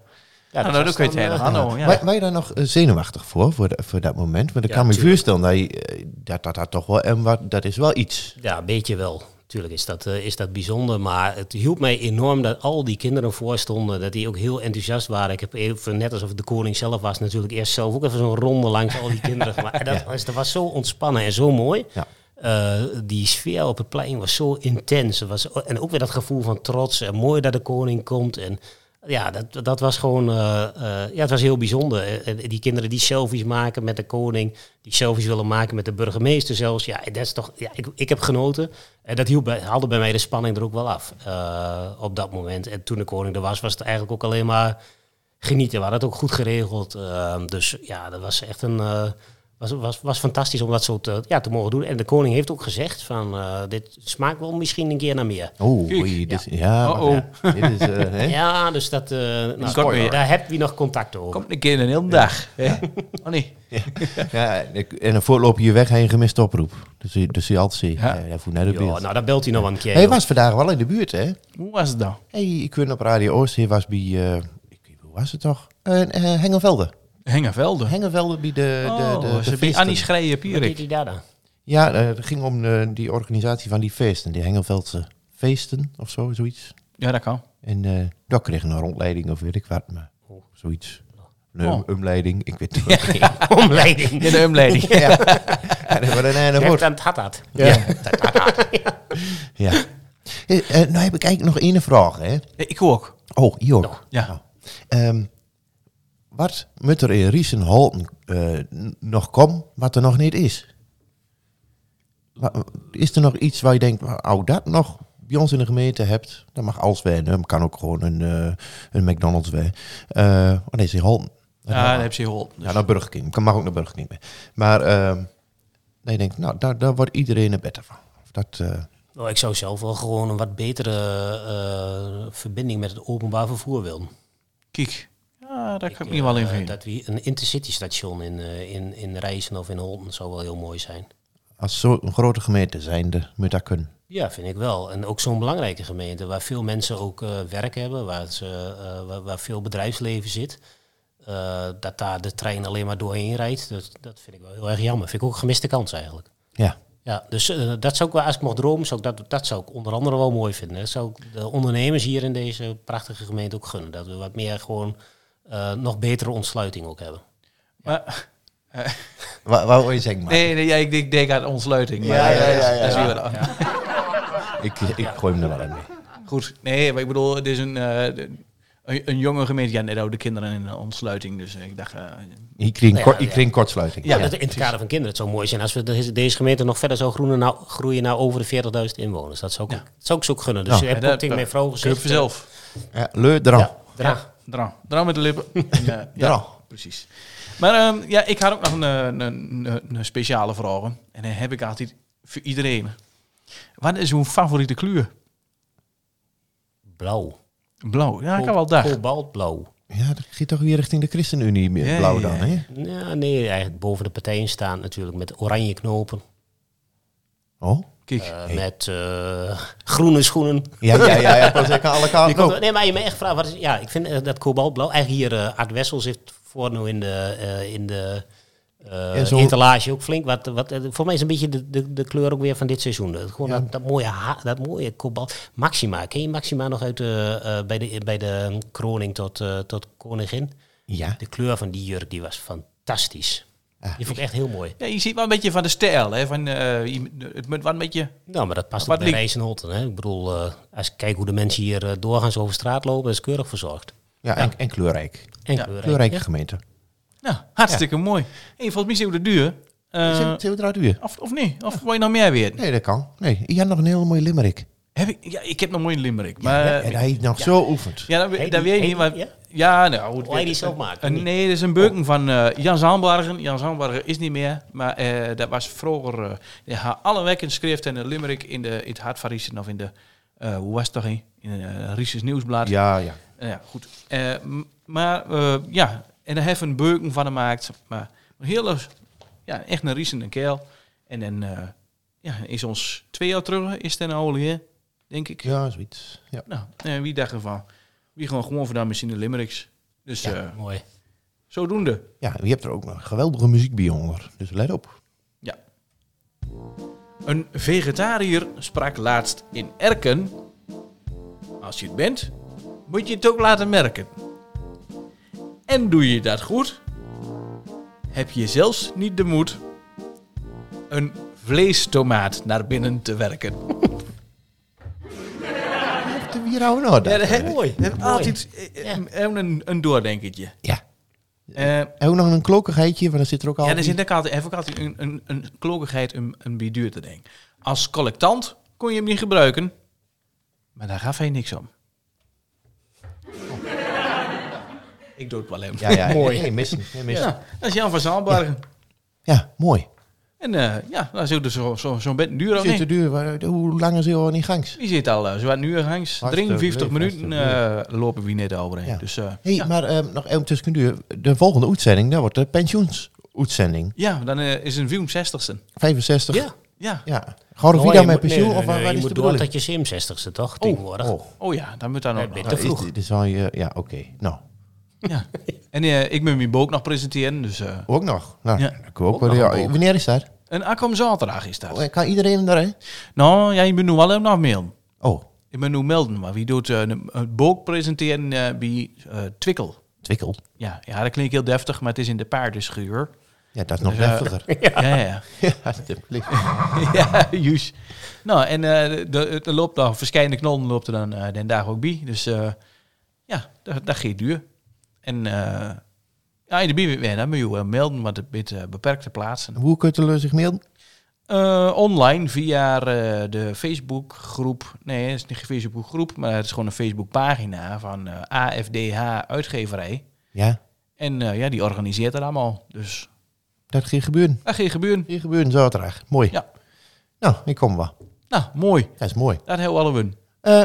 [SPEAKER 7] Ja,
[SPEAKER 3] Nou,
[SPEAKER 7] dat
[SPEAKER 3] dan
[SPEAKER 7] was
[SPEAKER 3] kun je het
[SPEAKER 7] dan,
[SPEAKER 3] hele
[SPEAKER 7] eh,
[SPEAKER 3] Hanno. Ja.
[SPEAKER 4] Wa- Ben je daar nog eh, zenuwachtig voor, voor, dat- voor dat moment? Want ik
[SPEAKER 7] Ja,
[SPEAKER 4] kan me
[SPEAKER 7] tuurlijk.
[SPEAKER 4] voorstellen dat, je, eh, dat, dat, dat toch wel... En wat, dat is wel iets.
[SPEAKER 7] Ja, een beetje wel. Tuurlijk is dat, eh, is dat bijzonder, maar het hielp mij enorm dat al die kinderen voorstonden, dat die ook heel enthousiast waren. Ik heb even, net alsof de koning zelf was, natuurlijk eerst zelf ook even zo'n ronde langs al die kinderen gemaakt. En dat, was, dat was zo ontspannen en zo mooi.
[SPEAKER 4] Ja.
[SPEAKER 7] Eh, die sfeer op het plein was zo intens. Er was, en ook weer dat gevoel van trots en mooi dat de koning komt. En ja, dat, dat was gewoon, eh, eh, ja, het was heel bijzonder. Eh, eh, die kinderen die selfies maken met de koning, die selfies willen maken met de burgemeester zelfs. Ja, dat is toch, ja, ik, ik heb genoten. En dat hielp bij, haalde bij mij de spanning er ook wel af eh, op dat moment. En toen de koning er was, was het eigenlijk ook alleen maar genieten. We hadden het ook goed geregeld. eh, dus ja, dat was echt een... eh, was, was, was fantastisch om dat zo te, ja, te mogen doen. En de koning heeft ook gezegd van... eh, dit smaakt wel misschien een keer naar meer.
[SPEAKER 4] Oeh,
[SPEAKER 3] Kijk.
[SPEAKER 4] Oh, oei, dit, is- ja, wacht,
[SPEAKER 3] Uh-oh.
[SPEAKER 4] ja. dit is... eh, hè?
[SPEAKER 7] [laughs] Ja, dus dat, eh, nou,
[SPEAKER 3] Kort weer.
[SPEAKER 7] daar heb je nog contact over.
[SPEAKER 3] Komt een keer een hele dag. hè? Oh nee.
[SPEAKER 4] Ja, en ik- en een voorloop je weg en je gemist oproep. Dus, je- dus je altijd ziet,
[SPEAKER 3] Ja.
[SPEAKER 4] ja. hij voelt naar de
[SPEAKER 7] Ja,
[SPEAKER 4] beeld.
[SPEAKER 7] nou, dan belt hij nog wel een keer.
[SPEAKER 4] hij
[SPEAKER 7] joh.
[SPEAKER 4] was vandaag wel in de buurt, hè?
[SPEAKER 3] Hoe was het dan?
[SPEAKER 4] Hey, ik ben op Radio Oost, hij was bij, eh, ik weet, hoe was het toch? Eh eh, Hengelvelde.
[SPEAKER 3] Hengenvelden.
[SPEAKER 4] Hengelvelde bij de...
[SPEAKER 3] Oh,
[SPEAKER 4] de, de, de
[SPEAKER 3] ze bij
[SPEAKER 4] feesten.
[SPEAKER 3] Annie Schreien
[SPEAKER 7] Wat deed
[SPEAKER 3] Pierik.
[SPEAKER 7] hij
[SPEAKER 3] [laughs]
[SPEAKER 7] daar dan?
[SPEAKER 4] Ja, eh, het ging om eh, die organisatie van die feesten, die Hengelveldse feesten of zo, zoiets.
[SPEAKER 3] Ja, dat kan.
[SPEAKER 4] En eh daar kreeg ik een rondleiding of weet ik wat, maar zoiets. Een
[SPEAKER 3] Oh.
[SPEAKER 4] omleiding, ik weet het niet.
[SPEAKER 7] Omleiding.
[SPEAKER 3] In de
[SPEAKER 4] [laughs]
[SPEAKER 3] umleiding.
[SPEAKER 4] Ja, dat wordt een einde
[SPEAKER 7] Recht
[SPEAKER 4] woord.
[SPEAKER 7] aan het had dat.
[SPEAKER 4] Ja. Eh, eh, nou heb ik eigenlijk nog één vraag, hè.
[SPEAKER 3] Nee, Ik ook.
[SPEAKER 4] Oh, Jork.
[SPEAKER 3] Ja.
[SPEAKER 4] Nou, ehm, wat moet er in Riesenholten eh, n- nog komen wat er nog niet is? Wa- Is er nog iets waar je denkt, hou dat nog bij ons in de gemeente hebt? Dat mag alles zijn. hè. Het kan ook gewoon een, eh, een McDonald's zijn. Eh, oh nee, is in Holten.
[SPEAKER 3] Ja, dat heb ze geholpen.
[SPEAKER 4] Ja, naar Burger King. Ik mag ook naar Burger King mee. Maar ehm nee, je denkt, nou, daar, daar wordt iedereen er beter van. Of dat, eh,
[SPEAKER 7] Nou, ik zou zelf wel gewoon een wat betere eh, verbinding met het openbaar vervoer willen.
[SPEAKER 3] Kijk. Ja, daar kan ik me wel in
[SPEAKER 7] Eh,
[SPEAKER 3] vinden.
[SPEAKER 7] dat we een intercity station in, eh, in, in Rijssen of in Holten zou wel heel mooi zijn.
[SPEAKER 4] als zo'n grote gemeente zijnde, moet dat kunnen.
[SPEAKER 7] Ja, vind ik wel. En ook zo'n belangrijke gemeente waar veel mensen ook eh, werk hebben, waar, ze, eh, waar, waar veel bedrijfsleven zit. Eh, dat daar de trein alleen maar doorheen rijdt, dat, dat vind ik wel heel erg jammer. Vind ik ook een gemiste kans eigenlijk.
[SPEAKER 4] Ja.
[SPEAKER 7] Ja, dus eh, dat zou ik wel, als ik mocht dromen, zou ik dat, dat zou ik onder andere wel mooi vinden. Dat zou ik de ondernemers hier in deze prachtige gemeente ook gunnen. Dat we wat meer gewoon eh, nog betere ontsluiting ook hebben.
[SPEAKER 3] Maar,
[SPEAKER 4] Waar, waar wil je zeggen, maar?
[SPEAKER 3] nee, nee ja, ik, ik denk aan ontsluiting. Maar,
[SPEAKER 4] Ja, ja,
[SPEAKER 3] eh,
[SPEAKER 4] ja, ja,
[SPEAKER 3] dat is
[SPEAKER 4] ja.
[SPEAKER 3] weer- ja.
[SPEAKER 4] Ik, ik gooi hem er wel in mee.
[SPEAKER 3] Goed, nee, maar ik bedoel, het is een, eh, de- een, een jonge gemeente. Ja, net oude kinderen in de ontsluiting. Dus eh, ik dacht, eh,
[SPEAKER 4] Ik kreeg een,
[SPEAKER 7] Ja,
[SPEAKER 4] kort,
[SPEAKER 7] ja.
[SPEAKER 4] ik kreeg een kortsluiting.
[SPEAKER 7] Ja, dat, in het kader van kinderen. Het zou mooi zijn als we de- deze gemeente nog verder zou groeien naar, groeien naar over de 40.000 inwoners. Dat zou ik, dat zou ik zo ook gunnen. Dus
[SPEAKER 4] Nou,
[SPEAKER 7] je hebt
[SPEAKER 3] dat-
[SPEAKER 7] ook tegen mijn vrouw gezegd.
[SPEAKER 3] Keup vanzelf.
[SPEAKER 4] Ja, Leur, dran.
[SPEAKER 7] Ja, draag.
[SPEAKER 3] Dran. Dran met de
[SPEAKER 4] [laughs]
[SPEAKER 3] lippen. En, eh, ja,
[SPEAKER 4] Dran.
[SPEAKER 3] precies. Maar ehm, ja, ik had ook nog een, eh, een, een, een speciale vraag. En dan heb ik altijd voor iedereen. Wat is uw favoriete kleur?
[SPEAKER 7] Blauw.
[SPEAKER 3] Blauw. Ja, ik kan wel daar.
[SPEAKER 7] Kobaltblauw.
[SPEAKER 4] Ja, dat gaat toch weer richting de ChristenUnie meer
[SPEAKER 3] Ja,
[SPEAKER 4] blauw
[SPEAKER 3] ja,
[SPEAKER 4] dan,
[SPEAKER 3] ja.
[SPEAKER 4] hè?
[SPEAKER 7] Ja, nee, eigenlijk boven de partijen staan natuurlijk met oranje knopen.
[SPEAKER 4] Oh?
[SPEAKER 3] Kijk,
[SPEAKER 7] eh, Met eh, groene schoenen.
[SPEAKER 4] Ja, ja, ja, ja. pas ik aan alle kanten op.
[SPEAKER 7] Ah, Nee, maar je me echt vragen. Wat is, ja, ik vind eh, dat kobaltblauw. Eigenlijk hier, eh Art Wessel zit voor nu in de, eh, in de eh,
[SPEAKER 4] En zo-
[SPEAKER 7] etalage ook flink. Wat, wat, eh, voor mij is een beetje de, de, de kleur ook weer van dit seizoen. Dat- Gewoon dat, dat mooie, ha- dat mooie kobalt. Maxima, ken je Maxima nog uit de, eh, bij, de, bij de kroning tot, eh, tot koningin?
[SPEAKER 4] Ja.
[SPEAKER 7] De kleur van die jurk die was fantastisch. die vond ik echt heel mooi.
[SPEAKER 3] ja, je ziet wel een beetje van de stijl. Hè? Van, eh, je- het moet wel een beetje...
[SPEAKER 7] Nou, maar dat past
[SPEAKER 3] Wat
[SPEAKER 7] ook bij
[SPEAKER 3] liep-
[SPEAKER 7] Rijzenholten. Hè? Ik bedoel, eh, als ik kijk hoe de mensen hier eh, doorgaans over straat lopen, dat is keurig verzorgd.
[SPEAKER 4] Ja, en, en kleurrijk.
[SPEAKER 7] En kleurrijk.
[SPEAKER 4] Kleurrijke
[SPEAKER 7] Ja.
[SPEAKER 4] gemeente.
[SPEAKER 3] Nou, hartstikke mooi. Hey, volgens mij zijn we de duur. Eh,
[SPEAKER 4] Zijn zijn we eruit weer?
[SPEAKER 3] of, of niet? Of wil je nog meer weten?
[SPEAKER 4] Nee, dat kan. Nee, je had nog een hele mooie limerick.
[SPEAKER 3] Heb ik, ja, ik heb nog mooi een limerick. Maar,
[SPEAKER 4] en hij heeft nog zo oefend.
[SPEAKER 3] Eh, Ja, dat,
[SPEAKER 7] Heet
[SPEAKER 3] we-
[SPEAKER 7] die-
[SPEAKER 3] dat weet ik
[SPEAKER 7] heet
[SPEAKER 3] niet. Maar,
[SPEAKER 7] die- ja?
[SPEAKER 3] ja, nou goed.
[SPEAKER 7] Wil je die zelf maken,
[SPEAKER 3] Een-
[SPEAKER 7] of niet?
[SPEAKER 3] nee, dat is een beuken van eh, Jan Zandbergen. Jan Zandbergen is niet meer, maar eh, dat was vroeger. eh, je had alle wekken schreef en een limerick in, de, in het Hart van Riesen of in de. eh, hoe was het toch? hè? In een uh, Nieuwsblad.
[SPEAKER 4] Ja, ja.
[SPEAKER 3] Eh, ja, goed. Eh, m- maar eh, ja, en daar hebben we een beuken van gemaakt. Maar een hele, ja, echt een riesende keel. En dan eh, ja, is ons twee jaar terug, is ten olie, hè? denk ik.
[SPEAKER 4] Ja, zoiets. Ja.
[SPEAKER 3] Nou, en wie dacht ervan? Wie gewoon gewoon vandaan misschien de Limericks. Dus
[SPEAKER 7] Ja,
[SPEAKER 3] eh,
[SPEAKER 7] mooi.
[SPEAKER 3] zodoende.
[SPEAKER 4] ja, en je hebt er ook nog geweldige muziek bij onder. Dus let op.
[SPEAKER 3] Ja. Een vegetariër sprak laatst in Erken. Als je het bent, moet je het ook laten merken. En doe je dat goed, heb je zelfs niet de moed een vleestomaat naar binnen te werken.
[SPEAKER 4] Wie houden nou dat?
[SPEAKER 3] dat
[SPEAKER 4] eh?
[SPEAKER 7] Mooi.
[SPEAKER 3] Dat
[SPEAKER 7] mooi.
[SPEAKER 3] altijd eh, eh, een, een doordenkertje.
[SPEAKER 4] Ja.
[SPEAKER 3] Eh,
[SPEAKER 4] En ook nog een klokkerheidje, want er zit er ook al...
[SPEAKER 3] Ja, er zit ook altijd, heeft ook altijd een, een, een klokigheid, een, een biduurte ding. Als collectant kon je hem niet gebruiken, maar daar gaf hij niks om. Oh. Ik doe het wel even.
[SPEAKER 4] Ja, ja. Mooi. Nee, missen. Nee, missen. Ja.
[SPEAKER 3] Ja, dat is Jan van Zaalbergen.
[SPEAKER 4] mooi.
[SPEAKER 3] En eh, ja, dat is ook dus zo- zo- zo'n bed duur al
[SPEAKER 4] Zit te
[SPEAKER 3] niet.
[SPEAKER 4] duur. waar- Hoe lang is hij al in die gangs?
[SPEAKER 3] Die zit al eh, zo aan nu hangs.
[SPEAKER 4] Hartstikke
[SPEAKER 3] 53
[SPEAKER 4] leuk,
[SPEAKER 3] minuten
[SPEAKER 4] hartstikke
[SPEAKER 3] eh, lopen we net overheen.
[SPEAKER 4] Ja.
[SPEAKER 3] Dus, eh,
[SPEAKER 4] Hey,
[SPEAKER 3] ja.
[SPEAKER 4] maar ehm, nog even tussen duur. De volgende uitzending, dat wordt de pensioensuitzending.
[SPEAKER 3] ja, dan eh, is een film 60ste.
[SPEAKER 4] 65.
[SPEAKER 7] Ja.
[SPEAKER 3] Ja.
[SPEAKER 4] Ja. Gewoon of
[SPEAKER 7] Oh,
[SPEAKER 4] wie dan
[SPEAKER 7] je
[SPEAKER 4] met
[SPEAKER 7] moet-
[SPEAKER 4] pensioen?
[SPEAKER 7] nee, nee,
[SPEAKER 4] of waar,
[SPEAKER 7] nee,
[SPEAKER 4] waar
[SPEAKER 7] je
[SPEAKER 4] is
[SPEAKER 7] moet
[SPEAKER 4] de
[SPEAKER 7] door
[SPEAKER 4] bedoeling?
[SPEAKER 7] tot je 67ste, toch? tegenwoordig.
[SPEAKER 4] Oh,
[SPEAKER 3] Oh ja, dan moet daar nog.
[SPEAKER 7] Nee,
[SPEAKER 4] te vroeg. Dit is wel je, ja, oké. Nou,
[SPEAKER 3] Ja. En eh, ik moet mijn boek nog presenteren. Dus, eh,
[SPEAKER 4] ook nog. Nou,
[SPEAKER 3] Ja.
[SPEAKER 4] dan kunnen we ook
[SPEAKER 3] Ook
[SPEAKER 4] wel-
[SPEAKER 3] nog
[SPEAKER 4] ja,
[SPEAKER 3] een boog.
[SPEAKER 4] wanneer is dat?
[SPEAKER 3] Een aankomende zaterdag is dat.
[SPEAKER 4] Oh, kan iedereen daarheen?
[SPEAKER 3] Nou, ja, je moet nu wel even nog melden.
[SPEAKER 4] Oh,
[SPEAKER 3] Je moet nu melden, maar wie doet eh, een, een boek presenteren eh, bij eh, Twikkel?
[SPEAKER 4] twikkel.
[SPEAKER 3] Ja, ja, dat klinkt heel deftig, maar het is in de paardenschuur.
[SPEAKER 4] Ja, dat is nog
[SPEAKER 3] Dus, eh,
[SPEAKER 4] heftiger. [laughs]
[SPEAKER 3] Ja, ja, ja. [laughs]
[SPEAKER 4] ja, alsjeblieft.
[SPEAKER 3] juist. Nou, en eh de, de loopt nog, verschillende knollen loopt er dan eh den dag ook bij. Dus eh, ja, dat, dat gaat duur. En eh ja, in de bier weer, dan moet je wel melden, want het biedt eh, beperkte plaatsen.
[SPEAKER 4] Hoe kunt u zich melden?
[SPEAKER 3] Eh, online via eh, de Facebookgroep. Nee, het is niet een Facebookgroep, maar het is gewoon een Facebookpagina van eh, AFDH Uitgeverij.
[SPEAKER 4] Ja,
[SPEAKER 3] En eh, ja, die organiseert dat allemaal. Dus
[SPEAKER 4] dat ging gebeuren.
[SPEAKER 3] dat ging gebeuren.
[SPEAKER 4] Ging gebeuren zaterdag. Mooi.
[SPEAKER 3] Ja.
[SPEAKER 4] Nou, ik kom wel.
[SPEAKER 3] Nou, mooi.
[SPEAKER 4] Dat is mooi.
[SPEAKER 3] Dat heel alle win.
[SPEAKER 4] Eh,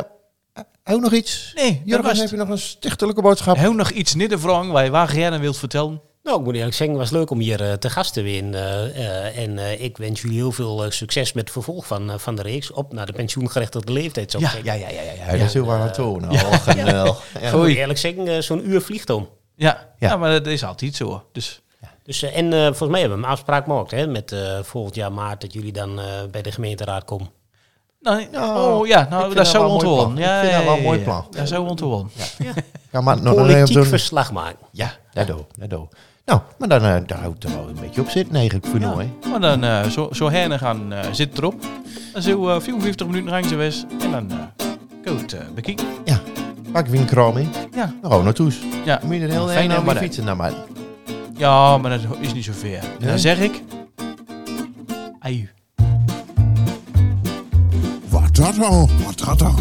[SPEAKER 4] ook nog iets?
[SPEAKER 3] Nee, dat was
[SPEAKER 4] Jurgen,
[SPEAKER 3] het.
[SPEAKER 4] heb je nog een stichtelijke boodschap?
[SPEAKER 3] Heel nog iets niet de wrong waar je waar gerne wilt vertellen.
[SPEAKER 7] Nou, ik moet eerlijk zeggen, het was leuk om hier eh, te gast te winnen. eh, eh, en eh, ik wens jullie heel veel eh, succes met het vervolg van, eh, van de reeks. Op naar de pensioengerechtigde leeftijd, zou ik
[SPEAKER 3] Ja,
[SPEAKER 7] zeggen.
[SPEAKER 4] ja, ja. ja, dat is heel waar aan toon. Oh, geweldig. Ja.
[SPEAKER 7] Ik moet eerlijk zeggen, eh, zo'n uur vliegt om.
[SPEAKER 3] Ja, Nou, ja.
[SPEAKER 4] Ja.
[SPEAKER 3] maar dat is altijd zo. Dus
[SPEAKER 4] Ja.
[SPEAKER 7] Dus, eh, en eh, volgens mij hebben we een afspraak gemaakt hè, met eh, volgend jaar maart dat jullie dan eh, bij de gemeenteraad komen.
[SPEAKER 3] Nou,
[SPEAKER 4] Nou,
[SPEAKER 3] oh ja,
[SPEAKER 4] ik vind
[SPEAKER 3] nou, daar
[SPEAKER 4] dat
[SPEAKER 3] zou
[SPEAKER 4] wel een mooi
[SPEAKER 3] ontholen.
[SPEAKER 4] plan. Ik
[SPEAKER 3] Ja,
[SPEAKER 4] vind
[SPEAKER 3] ja,
[SPEAKER 4] dat wel een
[SPEAKER 3] ja,
[SPEAKER 4] mooi
[SPEAKER 3] ja.
[SPEAKER 4] plan.
[SPEAKER 3] Daar zou ontholen. Ja,
[SPEAKER 4] [laughs] Ja, maar nog een
[SPEAKER 7] Politiek
[SPEAKER 4] zo'n-
[SPEAKER 7] verslag maken.
[SPEAKER 4] Ja, daardoor, daardoor. Nou, maar dan, eh, daar houdt er wel een beetje op zitten eigenlijk voor nou, hè.
[SPEAKER 3] Maar dan, eh, zo, zo hernen gaan eh, zit erop. Dan zullen we 54 minuten lang geweest. En dan eh kun je het eh, bekijken.
[SPEAKER 4] Ja, pak winkram in.
[SPEAKER 3] Ja.
[SPEAKER 4] Dan gaan we naartoe.
[SPEAKER 3] Ja.
[SPEAKER 4] Dan moet je er heel
[SPEAKER 3] Fijn
[SPEAKER 4] erg naar
[SPEAKER 3] maar
[SPEAKER 4] mijn
[SPEAKER 3] dan.
[SPEAKER 4] fietsen Nou, naar mij.
[SPEAKER 3] ja, maar dat is niet zo ver. En
[SPEAKER 4] Nee?
[SPEAKER 3] Dan zeg ik... Aju.
[SPEAKER 1] Wat dat al?
[SPEAKER 2] Wat dat al?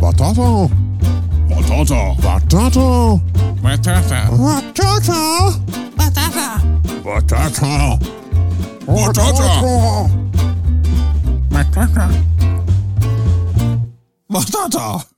[SPEAKER 1] Wat dat al?
[SPEAKER 2] Wat dat al?
[SPEAKER 1] Wat dat al?
[SPEAKER 2] Wat dat al?
[SPEAKER 1] Wat dat al?
[SPEAKER 2] Patata.
[SPEAKER 1] Wat dat al?
[SPEAKER 2] Wat dat al? Patata. Wat dat al?